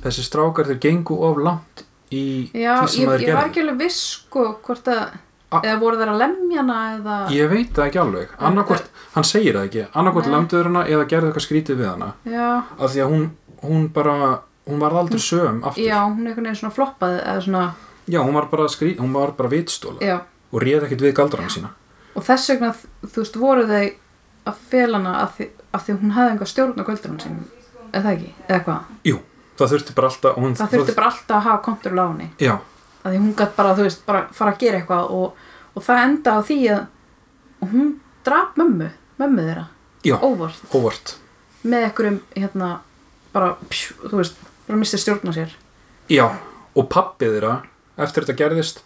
[SPEAKER 2] þessi strákar þeir gengu of langt í
[SPEAKER 1] já,
[SPEAKER 2] því
[SPEAKER 1] ég,
[SPEAKER 2] sem Ah.
[SPEAKER 1] ég var
[SPEAKER 2] þeir gerðu
[SPEAKER 1] ekki alveg viss sko hvort að,
[SPEAKER 2] A-
[SPEAKER 1] eða voru þeirra lemjana eða,
[SPEAKER 2] ég veit það ekki alveg annarkvort, hann segir það ekki annarkvort
[SPEAKER 1] Nei.
[SPEAKER 2] lemduður hana eða gerðu eitthvað skrítið við hana
[SPEAKER 1] já,
[SPEAKER 2] af því að hún, hún bara hún var aldrei söm aftur
[SPEAKER 1] já, hún einhvern veginn svona floppaði eða svona,
[SPEAKER 2] Já, hún var bara, skrí, hún var bara vitstóla
[SPEAKER 1] já
[SPEAKER 2] og réð ekkert við galdrana sína
[SPEAKER 1] og þess vegna, þú veist, voru þau að fela hana að því, að því hún hafði einhver stjórn á göldrunum sínum eða ekki, eða hvað,
[SPEAKER 2] Jú, það þurfti bara alltaf og hún,
[SPEAKER 1] það þurfti bara alltaf að hafa kontról á henni
[SPEAKER 2] Já,
[SPEAKER 1] að því hún gætt bara, þú veist, bara fara að gera eitthvað og, og það enda á því að og hún draf mömmu mömmu þeirra,
[SPEAKER 2] Já.
[SPEAKER 1] óvart
[SPEAKER 2] óvart
[SPEAKER 1] með einhverjum, hérna, bara pjú, þú veist, bara mistir stjórna sér
[SPEAKER 2] Já, og pappi þeirra eftir þetta gerðist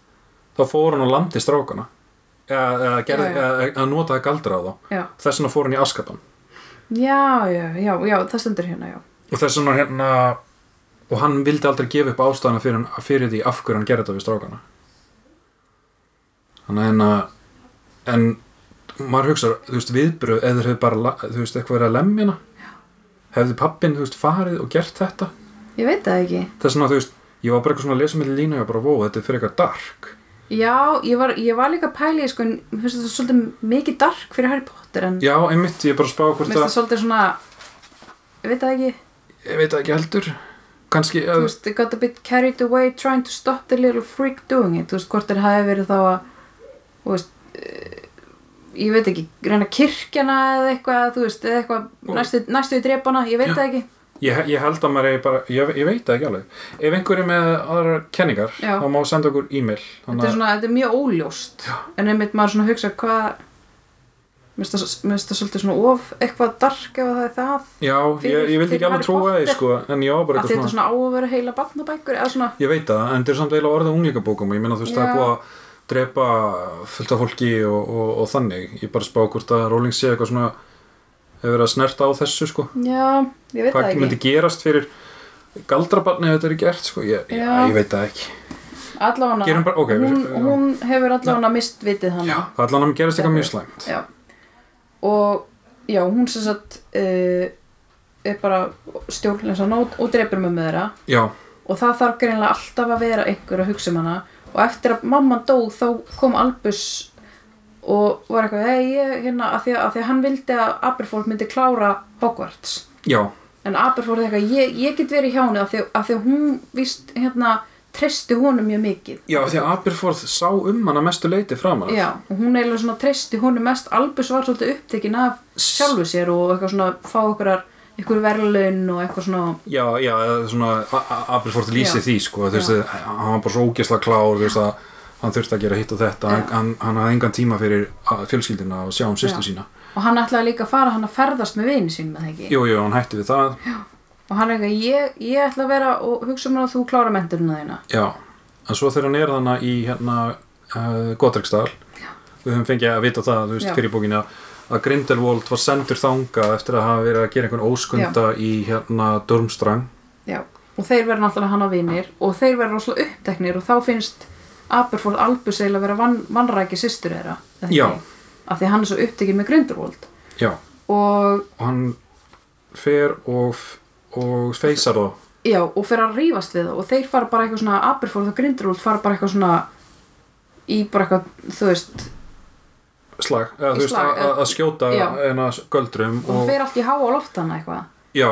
[SPEAKER 2] þá fór hann og landi strákana eða, eða, gerði,
[SPEAKER 1] Já, já.
[SPEAKER 2] eða, eða notaði galdra á þá
[SPEAKER 1] já,
[SPEAKER 2] þess vegna fór hann í Askaban
[SPEAKER 1] já, já, já, já það stendur hérna, já
[SPEAKER 2] og þess vegna hérna og hann vildi aldrei gefa upp ástæðana fyrir, hann- fyrir því af hverju hann gerði þetta við strákana þannig en að hérna, en maður hugsar, þú veist, viðbröð eða þeir hefðu bara, la- þú veist, eitthvað verið að lemjana hefði pappin, þú veist, farið og gert þetta
[SPEAKER 1] ég veit það ekki,
[SPEAKER 2] þess vegna, þú veist, ég var bara eitthvað svona að lesa með lína og ég var bara, vó, þetta er fyrir eitthvað dark
[SPEAKER 1] já, ég var, ég var líka pæli sko, en mér finnst þetta svolítið mikið dark fyrir Harry Potter en
[SPEAKER 2] já, einmitt, ég er bara að spá
[SPEAKER 1] mér
[SPEAKER 2] hvort
[SPEAKER 1] finnst það
[SPEAKER 2] að,
[SPEAKER 1] svolítið svona ég veit það ekki,
[SPEAKER 2] ég veit það ekki heldur kannski,
[SPEAKER 1] þú
[SPEAKER 2] að,
[SPEAKER 1] veist, got a bit carried away trying to stop the little freak doing it þú veist, hvort þeir hafi verið þá að þú veist eh, ég veit ekki, reyna kirkjana eða eitthvað, þú veist, eða eitthvað
[SPEAKER 2] Og-
[SPEAKER 1] næstu, næstu í drepana, ég veit
[SPEAKER 2] Já.
[SPEAKER 1] það ekki
[SPEAKER 2] Ég, ég held að maður eigi bara, ég, ég veit það ekki alveg. Ef einhverju með aðrar kenningar,
[SPEAKER 1] Já.
[SPEAKER 2] þá má senda okkur e-mail.
[SPEAKER 1] þetta er
[SPEAKER 2] að-
[SPEAKER 1] svona, þetta er mjög óljóst
[SPEAKER 2] Já.
[SPEAKER 1] en einmitt maður svona hugsa hvað mér finnst það- mér finnst það svolítið svona of eitthvað dark ef það er það af
[SPEAKER 2] Já, ég, ég vildi
[SPEAKER 1] fyrir
[SPEAKER 2] ekki alveg
[SPEAKER 1] Harry
[SPEAKER 2] trúa því,
[SPEAKER 1] Potter.
[SPEAKER 2] sko, en ég var bara
[SPEAKER 1] því þetta
[SPEAKER 2] eitthvað
[SPEAKER 1] er
[SPEAKER 2] svona.
[SPEAKER 1] svona á að vera heila barnabækur eða svona,
[SPEAKER 2] Ég veit það, en þetta er samt eiginlega orðið unglingabókum og ég meina þú veist, það er
[SPEAKER 1] Já.
[SPEAKER 2] búið að drepa fullt af fólki og, og, og þannig. Ég bara spá hvort að Rowling sé eitthvað svona, hefur verið að snerta á þessu, sko.
[SPEAKER 1] já, ég veit það
[SPEAKER 2] Hvað
[SPEAKER 1] ekki
[SPEAKER 2] myndi gerast fyrir galdrabarni ef þetta er gert, sko? Ég, já,
[SPEAKER 1] Já.
[SPEAKER 2] ég veit það ekki.
[SPEAKER 1] allavega
[SPEAKER 2] Gerum bara- ok, við-
[SPEAKER 1] hún,
[SPEAKER 2] já.
[SPEAKER 1] hún hefur allavega mist vitið hann
[SPEAKER 2] Já, það allan að gerast eitthvað mjög slæmt.
[SPEAKER 1] Já. Og já, hún sem sagt uh, er bara stjórnleysan og, og drepur mig með þeirra
[SPEAKER 2] Já,
[SPEAKER 1] og það þarf greinilega alltaf að vera einhver að hugsa um hana og eftir að mamma dó þá kom Albus og var eitthvað hey, ég, hérna, að, því að, að því að hann vildi að Aberforth myndi klára Hogwarts
[SPEAKER 2] já,
[SPEAKER 1] en Aberforth eitthvað, ég, ég get verið hjá henni að því að, því að hún víst hérna treysti honum mjög mikið
[SPEAKER 2] Já, því að Aberforth sá um hana mestu leiti framar.
[SPEAKER 1] já, og hún eiginlega svona treysti honum mest Albus var svolítið upptekinn af sjálfu sér og eitthvað svona fá einhverjar einhver verðlaun og eitthvað svona
[SPEAKER 2] Já, já, eða svona A- A- Aberforth lýsi
[SPEAKER 1] Já.
[SPEAKER 2] því, sko, þú veist, að hann var bara svo ógæsla klár, þú veist, að hann þurfti að gera hitt og þetta, hann,
[SPEAKER 1] Já.
[SPEAKER 2] hann, hann hafði engan tíma fyrir að- fjölskyldina og sjá um sýstu
[SPEAKER 1] Já.
[SPEAKER 2] sína.
[SPEAKER 1] og hann ætlaði líka að fara hann að ferðast með vini sín með það ekki
[SPEAKER 2] Jú, jú, hann hætti við það,
[SPEAKER 1] og hann er eitthvað, ég, ég ætla að vera og hugsa mér að þú klára menturina þína
[SPEAKER 2] já, en svo þegar hann er þarna í hérna uh, Godreksdal, við höfum fengið að vita það, þú veist,
[SPEAKER 1] Já.
[SPEAKER 2] fyrir bókinu að, að Grindelwald var sendur þanga eftir að hafa verið að gera einhvern óskunda í hérna Durmstrang.
[SPEAKER 1] já. og þeir verða náttúrulega hann að vinir og þeir verða rosalega uppteknir og þá finnst Aberforth Albus eiginlega að vera van, vannræki systur þeirra er það
[SPEAKER 2] Já.
[SPEAKER 1] ekki? af því hann er svo upptekinn með Grindelwald
[SPEAKER 2] Já,
[SPEAKER 1] og,
[SPEAKER 2] og hann fer og, og feysar þá.
[SPEAKER 1] já, og fer að rífast við það og þeir fara bara eitthvað svona Aberforth og Grindelwald fara bara eitthvað svona í bara eitthvað, þú veist
[SPEAKER 2] slag, eða,
[SPEAKER 1] Í
[SPEAKER 2] þú veist,
[SPEAKER 1] slag,
[SPEAKER 2] að, að- að skjóta
[SPEAKER 1] Já.
[SPEAKER 2] en að göldrum
[SPEAKER 1] og hann
[SPEAKER 2] og,
[SPEAKER 1] fer allt í háa loftana eitthvað
[SPEAKER 2] já,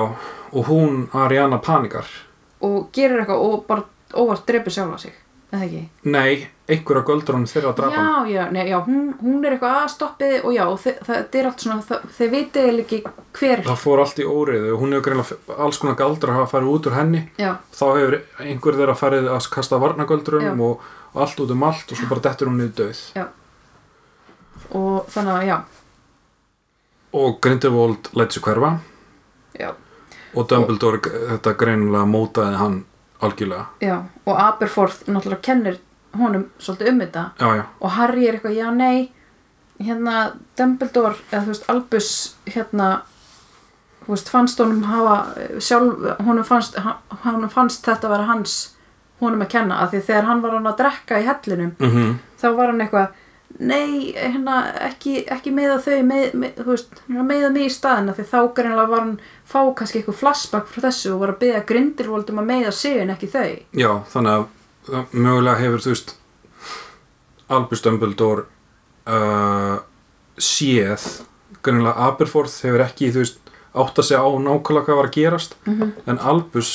[SPEAKER 2] og hún, Ariana, panikar
[SPEAKER 1] og gerir eitthvað og bara óvart drepur sjálfa sig er það ekki
[SPEAKER 2] nei, einhver af göldrunum þeirra að drapa hann
[SPEAKER 1] já, já, nei, já, hún, hún er eitthvað að stoppið og já, þe það er allt svona það, þeir vitið eiginlega ekki hver
[SPEAKER 2] það fór allt í óriðu og hún hefur greinlega alls konar galdra hafa farið út úr henni
[SPEAKER 1] já,
[SPEAKER 2] þá hefur einhver þeirra farið að kasta
[SPEAKER 1] Já.
[SPEAKER 2] varnagöldrum og allt út um allt og svo bara dettur hún niður döð
[SPEAKER 1] já og þannig að, já,
[SPEAKER 2] og Grindelwald lætt sér hverfa
[SPEAKER 1] já,
[SPEAKER 2] og Dumbledore, þetta greinlega mótaði hann algjörlega
[SPEAKER 1] já og Aberforth náttúrulega kennir honum svolítið um þetta
[SPEAKER 2] já, já,
[SPEAKER 1] og Harry er eitthvað, já, nei hérna, Dumbledore, eða þú veist Albus, hérna þú veist, fannst honum hafa eh, sjálf, honum fannst ha- honum fannst þetta að vera hans honum að kenna, af því þegar hann var hann að drekka í hellinum
[SPEAKER 2] mm
[SPEAKER 1] þá var hann eitthvað nei, hérna, ekki, ekki meða þau með, með, þú veist, hann meða mig í staðina því þá greinlega var hann fá kannski eitthvað flashback frá þessu og var að byggja grindirvoldum að meða sig en ekki þau
[SPEAKER 2] já, þannig að það mögulega hefur þú veist Albus Dumbledore uh, séð grunnilega Aberforth hefur ekki þú veist átt að segja á nákvæmlega hvað var að gerast
[SPEAKER 1] Mhm.
[SPEAKER 2] en Albus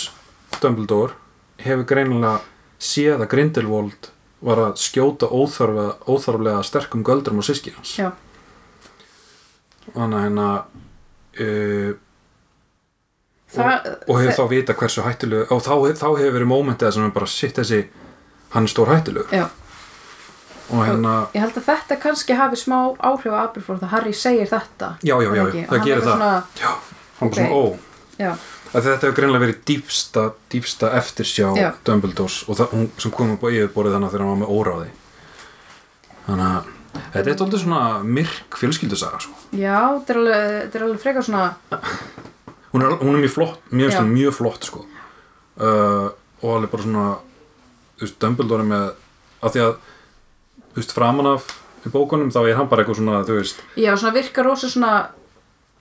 [SPEAKER 2] Dumbledore hefur greinilega séð að Grindelwald var að skjóta óþarfa, óþarflega sterkum göldrum á síski hans
[SPEAKER 1] já,
[SPEAKER 2] þannig að hérna uh,
[SPEAKER 1] það,
[SPEAKER 2] og hefur
[SPEAKER 1] það
[SPEAKER 2] þá vita hversu hættulegu og þá, þá hefur verið mómentið sem er bara sitt þessi, hann er stór hættulegur
[SPEAKER 1] já,
[SPEAKER 2] og hérna
[SPEAKER 1] ég held að þetta kannski hafi smá áhrif á Aberforth að Harry segir þetta
[SPEAKER 2] já, já, já,
[SPEAKER 1] Ekki?
[SPEAKER 2] já það
[SPEAKER 1] Hann
[SPEAKER 2] gerir
[SPEAKER 1] eitthvað
[SPEAKER 2] það
[SPEAKER 1] svona,
[SPEAKER 2] já, hann
[SPEAKER 1] Ok.
[SPEAKER 2] okay. svona, ó,
[SPEAKER 1] já,
[SPEAKER 2] Af því þetta hefur greinlega verið dýpsta, dýpsta eftirsjá
[SPEAKER 1] Já.
[SPEAKER 2] Dumbledores og það, hún sem kom upp á yfirborið þannig þegar hann var með óráði þannig að þetta er alltaf svona myrk fjölskyldusaga sko.
[SPEAKER 1] já, þetta er alveg, þetta er alveg frekar svona
[SPEAKER 2] hún, er, hún er mjög flott, mjög,
[SPEAKER 1] Já.
[SPEAKER 2] svona, mjög flott sko. uh, og alveg bara svona þú veist, Dumbledore er með af því að þú veist, framan af í bókunum þá er hann bara eitthvað svona þú veist,
[SPEAKER 1] já, svona virkar rosa svona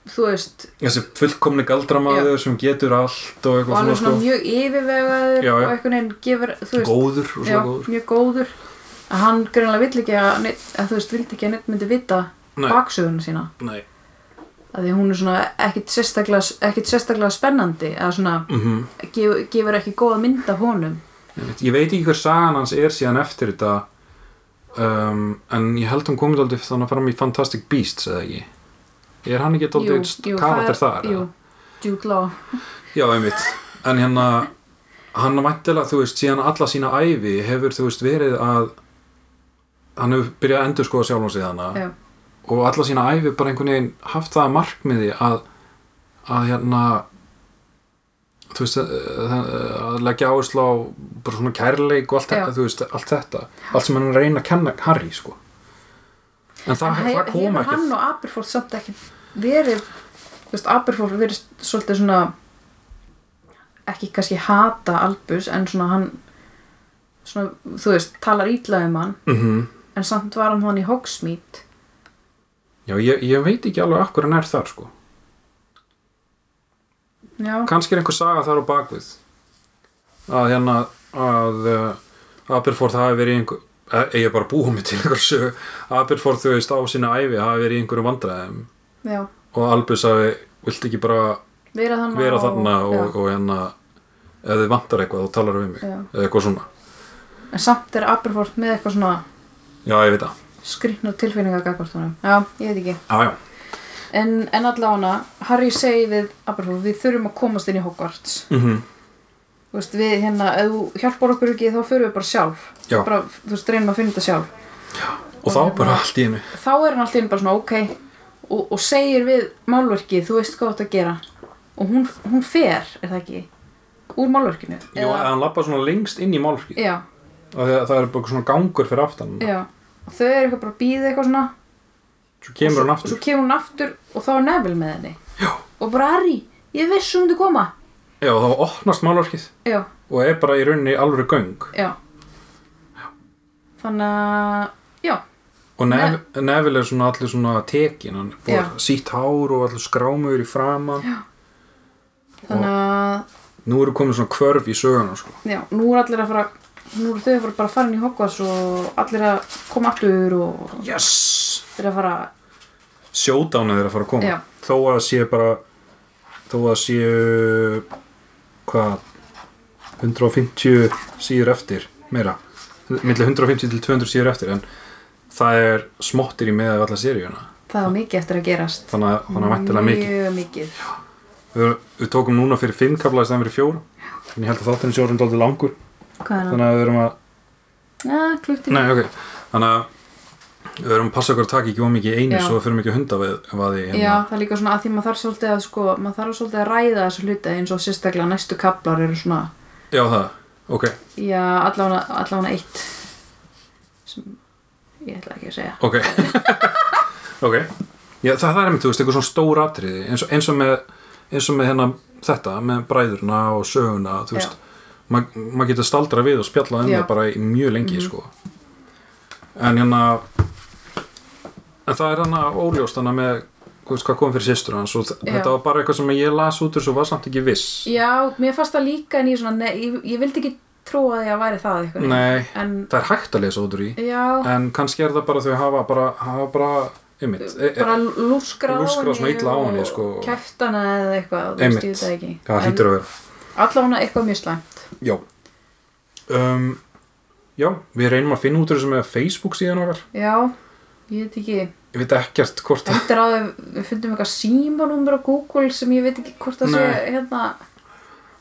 [SPEAKER 1] þú veist,
[SPEAKER 2] þessi fullkomni galdramaður sem getur allt og
[SPEAKER 1] og
[SPEAKER 2] eitthvað sko.
[SPEAKER 1] alveg svona mjög yfirvegaður
[SPEAKER 2] Já, já.
[SPEAKER 1] og einhvern veginn gefur, þú veist
[SPEAKER 2] góður og
[SPEAKER 1] já,
[SPEAKER 2] svona góður
[SPEAKER 1] mjög góður að hann greinlega vill ekki að, neinn- að þú veist, vildi ekki að neitt myndi vita
[SPEAKER 2] Nei.
[SPEAKER 1] baksöguna sína
[SPEAKER 2] Nei.
[SPEAKER 1] að því hún er svona ekkit sérstaklega, ekkit sérstaklega spennandi eða svona
[SPEAKER 2] Mm
[SPEAKER 1] gef, gefur ekki góða mynd af honum
[SPEAKER 2] Ég veit ekki hver sagan hans er síðan eftir þetta um, en ég held hún komið aldrei þannig fram í Fantastic Beasts eða ekki Er hann ekki
[SPEAKER 1] Jú,
[SPEAKER 2] aldrei
[SPEAKER 1] jú,
[SPEAKER 2] karakter
[SPEAKER 1] það er-
[SPEAKER 2] þar?
[SPEAKER 1] Jú,
[SPEAKER 2] eða?
[SPEAKER 1] Jude Law
[SPEAKER 2] Já, einmitt En hérna, hann væntilega, þú veist, síðan alla sína ævi hefur, þú veist, verið að hann hefur byrjað að endur skoða sjálfum sig þannig
[SPEAKER 1] já,
[SPEAKER 2] og alla sína ævi bara einhvern veginn haft það að markmiði að að hérna þú veist að, að, að leggja áherslu á bara svona kærleik og
[SPEAKER 1] Já.
[SPEAKER 2] allt, þetta, þú veist, allt þetta allt sem hann er að reyna að kenna Harry sko
[SPEAKER 1] He-
[SPEAKER 2] en það, það kom
[SPEAKER 1] hefur
[SPEAKER 2] ekki
[SPEAKER 1] hann og Aberforth samt ekki verið þú veist, Aberforth verið svolítið svona ekki kannski hata Albus en svona hann svona, þú veist, talar ítla um hann
[SPEAKER 2] mm
[SPEAKER 1] en samt var hann hann í Hogsmeade
[SPEAKER 2] já ég, ég veit ekki alveg akkur hann er þar sko
[SPEAKER 1] já,
[SPEAKER 2] kannski er einhver saga þar á bakvið að hérna að uh, Aberforth hafi verið í einhver eh, ég er bara að búa mig til einhver sög Aberforth þú veist á sína ævi hafi verið í einhverjum vandræðum
[SPEAKER 1] já,
[SPEAKER 2] og Albus hafi vilt ekki bara
[SPEAKER 1] vera þarna
[SPEAKER 2] vera
[SPEAKER 1] og-
[SPEAKER 2] þarna og,
[SPEAKER 1] já,
[SPEAKER 2] og, hérna ef þið vantar eitthvað þá talar við mig
[SPEAKER 1] Já.
[SPEAKER 2] eða eitthvað svona
[SPEAKER 1] en samt er Aberforth með eitthvað svona
[SPEAKER 2] já, ég veit það
[SPEAKER 1] skrifna tilfinninga gagvart honum já, ég veit ekki
[SPEAKER 2] já, já,
[SPEAKER 1] en, en allavega Harry segi við Aberforth við þurfum að komast inn í Hogwarts
[SPEAKER 2] mm
[SPEAKER 1] Þú veist, við hérna, ef þú hjálpar okkur ekki þá förum við bara sjálf
[SPEAKER 2] Já.
[SPEAKER 1] bara, þú veist, reynum að finna þetta sjálf
[SPEAKER 2] og þá bara allt í einu
[SPEAKER 1] þá er hann alltaf bara svona, ok og, og segir við málverkið, þú veist hvað þú átt að gera og hún, hún fer, er það ekki úr málverkinu
[SPEAKER 2] Jú, að hann lappa svona lengst inn í málskið
[SPEAKER 1] já,
[SPEAKER 2] það er bara svona gangur fyrir aftan
[SPEAKER 1] já og þau eru eitthvað bara að býða eitthvað svona
[SPEAKER 2] svo kemur hann
[SPEAKER 1] og svo
[SPEAKER 2] aftur
[SPEAKER 1] kemur hún aftur og þá er Neville með henni
[SPEAKER 2] já,
[SPEAKER 1] og bara Harry, ég viss um þú koma
[SPEAKER 2] já, þá opnast málskið
[SPEAKER 1] já,
[SPEAKER 2] og er bara í rauninni alveg göng
[SPEAKER 1] já þannig að já,
[SPEAKER 2] og Nev Neville er svona allir svona tekin hann er búið
[SPEAKER 1] Já.
[SPEAKER 2] sítt hár og allir skrámur í framan já.
[SPEAKER 1] þannig að
[SPEAKER 2] nú eru komin svona kvörf í söguna sko.
[SPEAKER 1] Já, nú er allir að fara Nú eru þau að fara bara farin í Hogwarts og allir að koma aftur og
[SPEAKER 2] yes
[SPEAKER 1] þeir að fara
[SPEAKER 2] sjódánið er að fara að koma
[SPEAKER 1] Já.
[SPEAKER 2] þó að sé bara þó að séu hvað 150 síður eftir meira, milli 150 til 200 síður eftir en það er smottir í meða af alla seríuna
[SPEAKER 1] það var mikið eftir að gerast
[SPEAKER 2] þannig að þannig að væntilega mikið
[SPEAKER 1] Mjög mikið
[SPEAKER 2] við, við tókum núna fyrir 5 kafla í stæðan fyrir 4 en ég held að þáttinni sjórum dálítið langur
[SPEAKER 1] Hvað er það?
[SPEAKER 2] þannig að við erum að
[SPEAKER 1] Ja, klukti
[SPEAKER 2] Nei, ok, þannig að við verum að passa okkur að taka ekki ómikið í einu
[SPEAKER 1] Já.
[SPEAKER 2] svo við förum ekki að hunda við vaði hérna.
[SPEAKER 1] Já, það er líka svona að því maður þarf svolítið að sko, maður þarf svolítið að ræða þessu hluti eins og sérstaklega næstu kaplar eru svona
[SPEAKER 2] Já, það, ok,
[SPEAKER 1] Já, allavega, allavega eitt sem ég ætla ekki að segja
[SPEAKER 2] ok Ok, Já, það, það er einmitt, þú veist, eitthvað svona stór atriði eins og, eins og með, eins og með hérna, þetta, með bræðurna og söguna þú
[SPEAKER 1] Já.
[SPEAKER 2] veist, ma- maður getur staldra við og spjalla um
[SPEAKER 1] Já. Mhm.
[SPEAKER 2] það bara í mjög lengi sko en hérna en það er hana óljóst hana með þú veist, hvað kom fyrir sýstur hans og þ-
[SPEAKER 1] Já.
[SPEAKER 2] þetta var bara eitthvað sem ég las út úr svo var samt ekki viss
[SPEAKER 1] Já, mér fannst það líka en ég svona, ne, ég, ég vildi ekki trúa því að væri það eitthvað
[SPEAKER 2] Nei,
[SPEAKER 1] En,
[SPEAKER 2] það er hægt að lesa út úr í
[SPEAKER 1] já,
[SPEAKER 2] en kannski er það bara þau hafa bara, hafa bara einmitt, e, e,
[SPEAKER 1] bara lúskra á
[SPEAKER 2] Lúskra
[SPEAKER 1] henni
[SPEAKER 2] svona illa á henni,
[SPEAKER 1] og
[SPEAKER 2] sko.
[SPEAKER 1] kæftana eða eitthvað, þú
[SPEAKER 2] Einmitt.
[SPEAKER 1] veist ég þetta ekki
[SPEAKER 2] það hlýtur að vera
[SPEAKER 1] allavega eitthvað mjög slæmt
[SPEAKER 2] já um, já, við reynum að finna út úr þessu með Facebook síðan okkar
[SPEAKER 1] já, ég veit ekki
[SPEAKER 2] ég veit ekkert hvort að
[SPEAKER 1] eftir að við fundum eitthvað símanúmer á Google sem ég veit ekki hvort það sé
[SPEAKER 2] Nei.
[SPEAKER 1] hérna,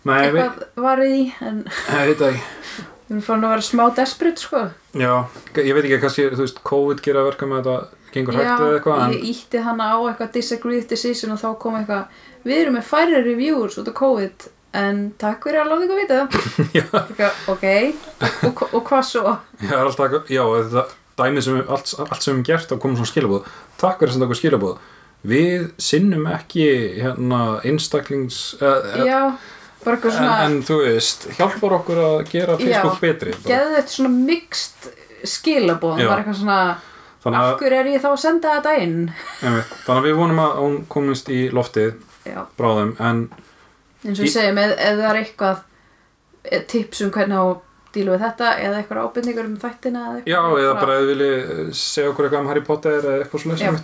[SPEAKER 2] nei, ég veit,
[SPEAKER 1] eitthvað varið í en
[SPEAKER 2] ég veit það ekki
[SPEAKER 1] við erum farin að vera smá desperate sko
[SPEAKER 2] já, ég veit ekki kannski, þú veist, COVID gera að verka með þetta gengur hægt eða eitthvað en,
[SPEAKER 1] ég ítti hana á eitthvað disagree with decision og þá kom eitthvað við erum með færri reviews út af COVID en takk fyrir að láta ykkur vita
[SPEAKER 2] já,
[SPEAKER 1] eitthvað, ok, og, og, og hvað svo
[SPEAKER 2] Já, það er alltaf, já, þetta dæmið sem, við- allt, allt sem við hefum gert og komum svona skilabóð takk fyrir að senda okkur skilabóð við sinnum ekki hérna einstaklings uh,
[SPEAKER 1] já, bara eitthvað
[SPEAKER 2] en,
[SPEAKER 1] svona
[SPEAKER 2] en þú veist, hjálpar okkur að gera Facebook
[SPEAKER 1] Já.
[SPEAKER 2] betri bara.
[SPEAKER 1] geðu þetta svona mixt skilabóð,
[SPEAKER 2] Já.
[SPEAKER 1] bara eitthvað svona
[SPEAKER 2] þannig
[SPEAKER 1] af
[SPEAKER 2] að,
[SPEAKER 1] hverju er ég þá að senda þetta inn
[SPEAKER 2] einmitt, þannig að við vonum að hún komist í loftið
[SPEAKER 1] já,
[SPEAKER 2] bráðum en
[SPEAKER 1] eins og
[SPEAKER 2] Í-
[SPEAKER 1] ég segjum eð, eða það er eitthvað eh, tips um hvernig á að díla við þetta eða eitthvað ábyrningar um þættina eða eitthvað
[SPEAKER 2] já, eða
[SPEAKER 1] Bara-
[SPEAKER 2] bara ef þið vilji segja okkur eitthvað um Harry Potter eða eitthvað svo
[SPEAKER 1] Já.
[SPEAKER 2] leysum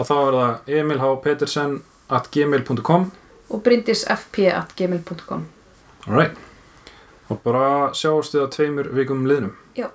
[SPEAKER 2] að þá er það emilhpetersen at gmail.com
[SPEAKER 1] og brindisfp.gmail.com
[SPEAKER 2] alright og bara sjáumst við á tveimur vikum liðnum
[SPEAKER 1] já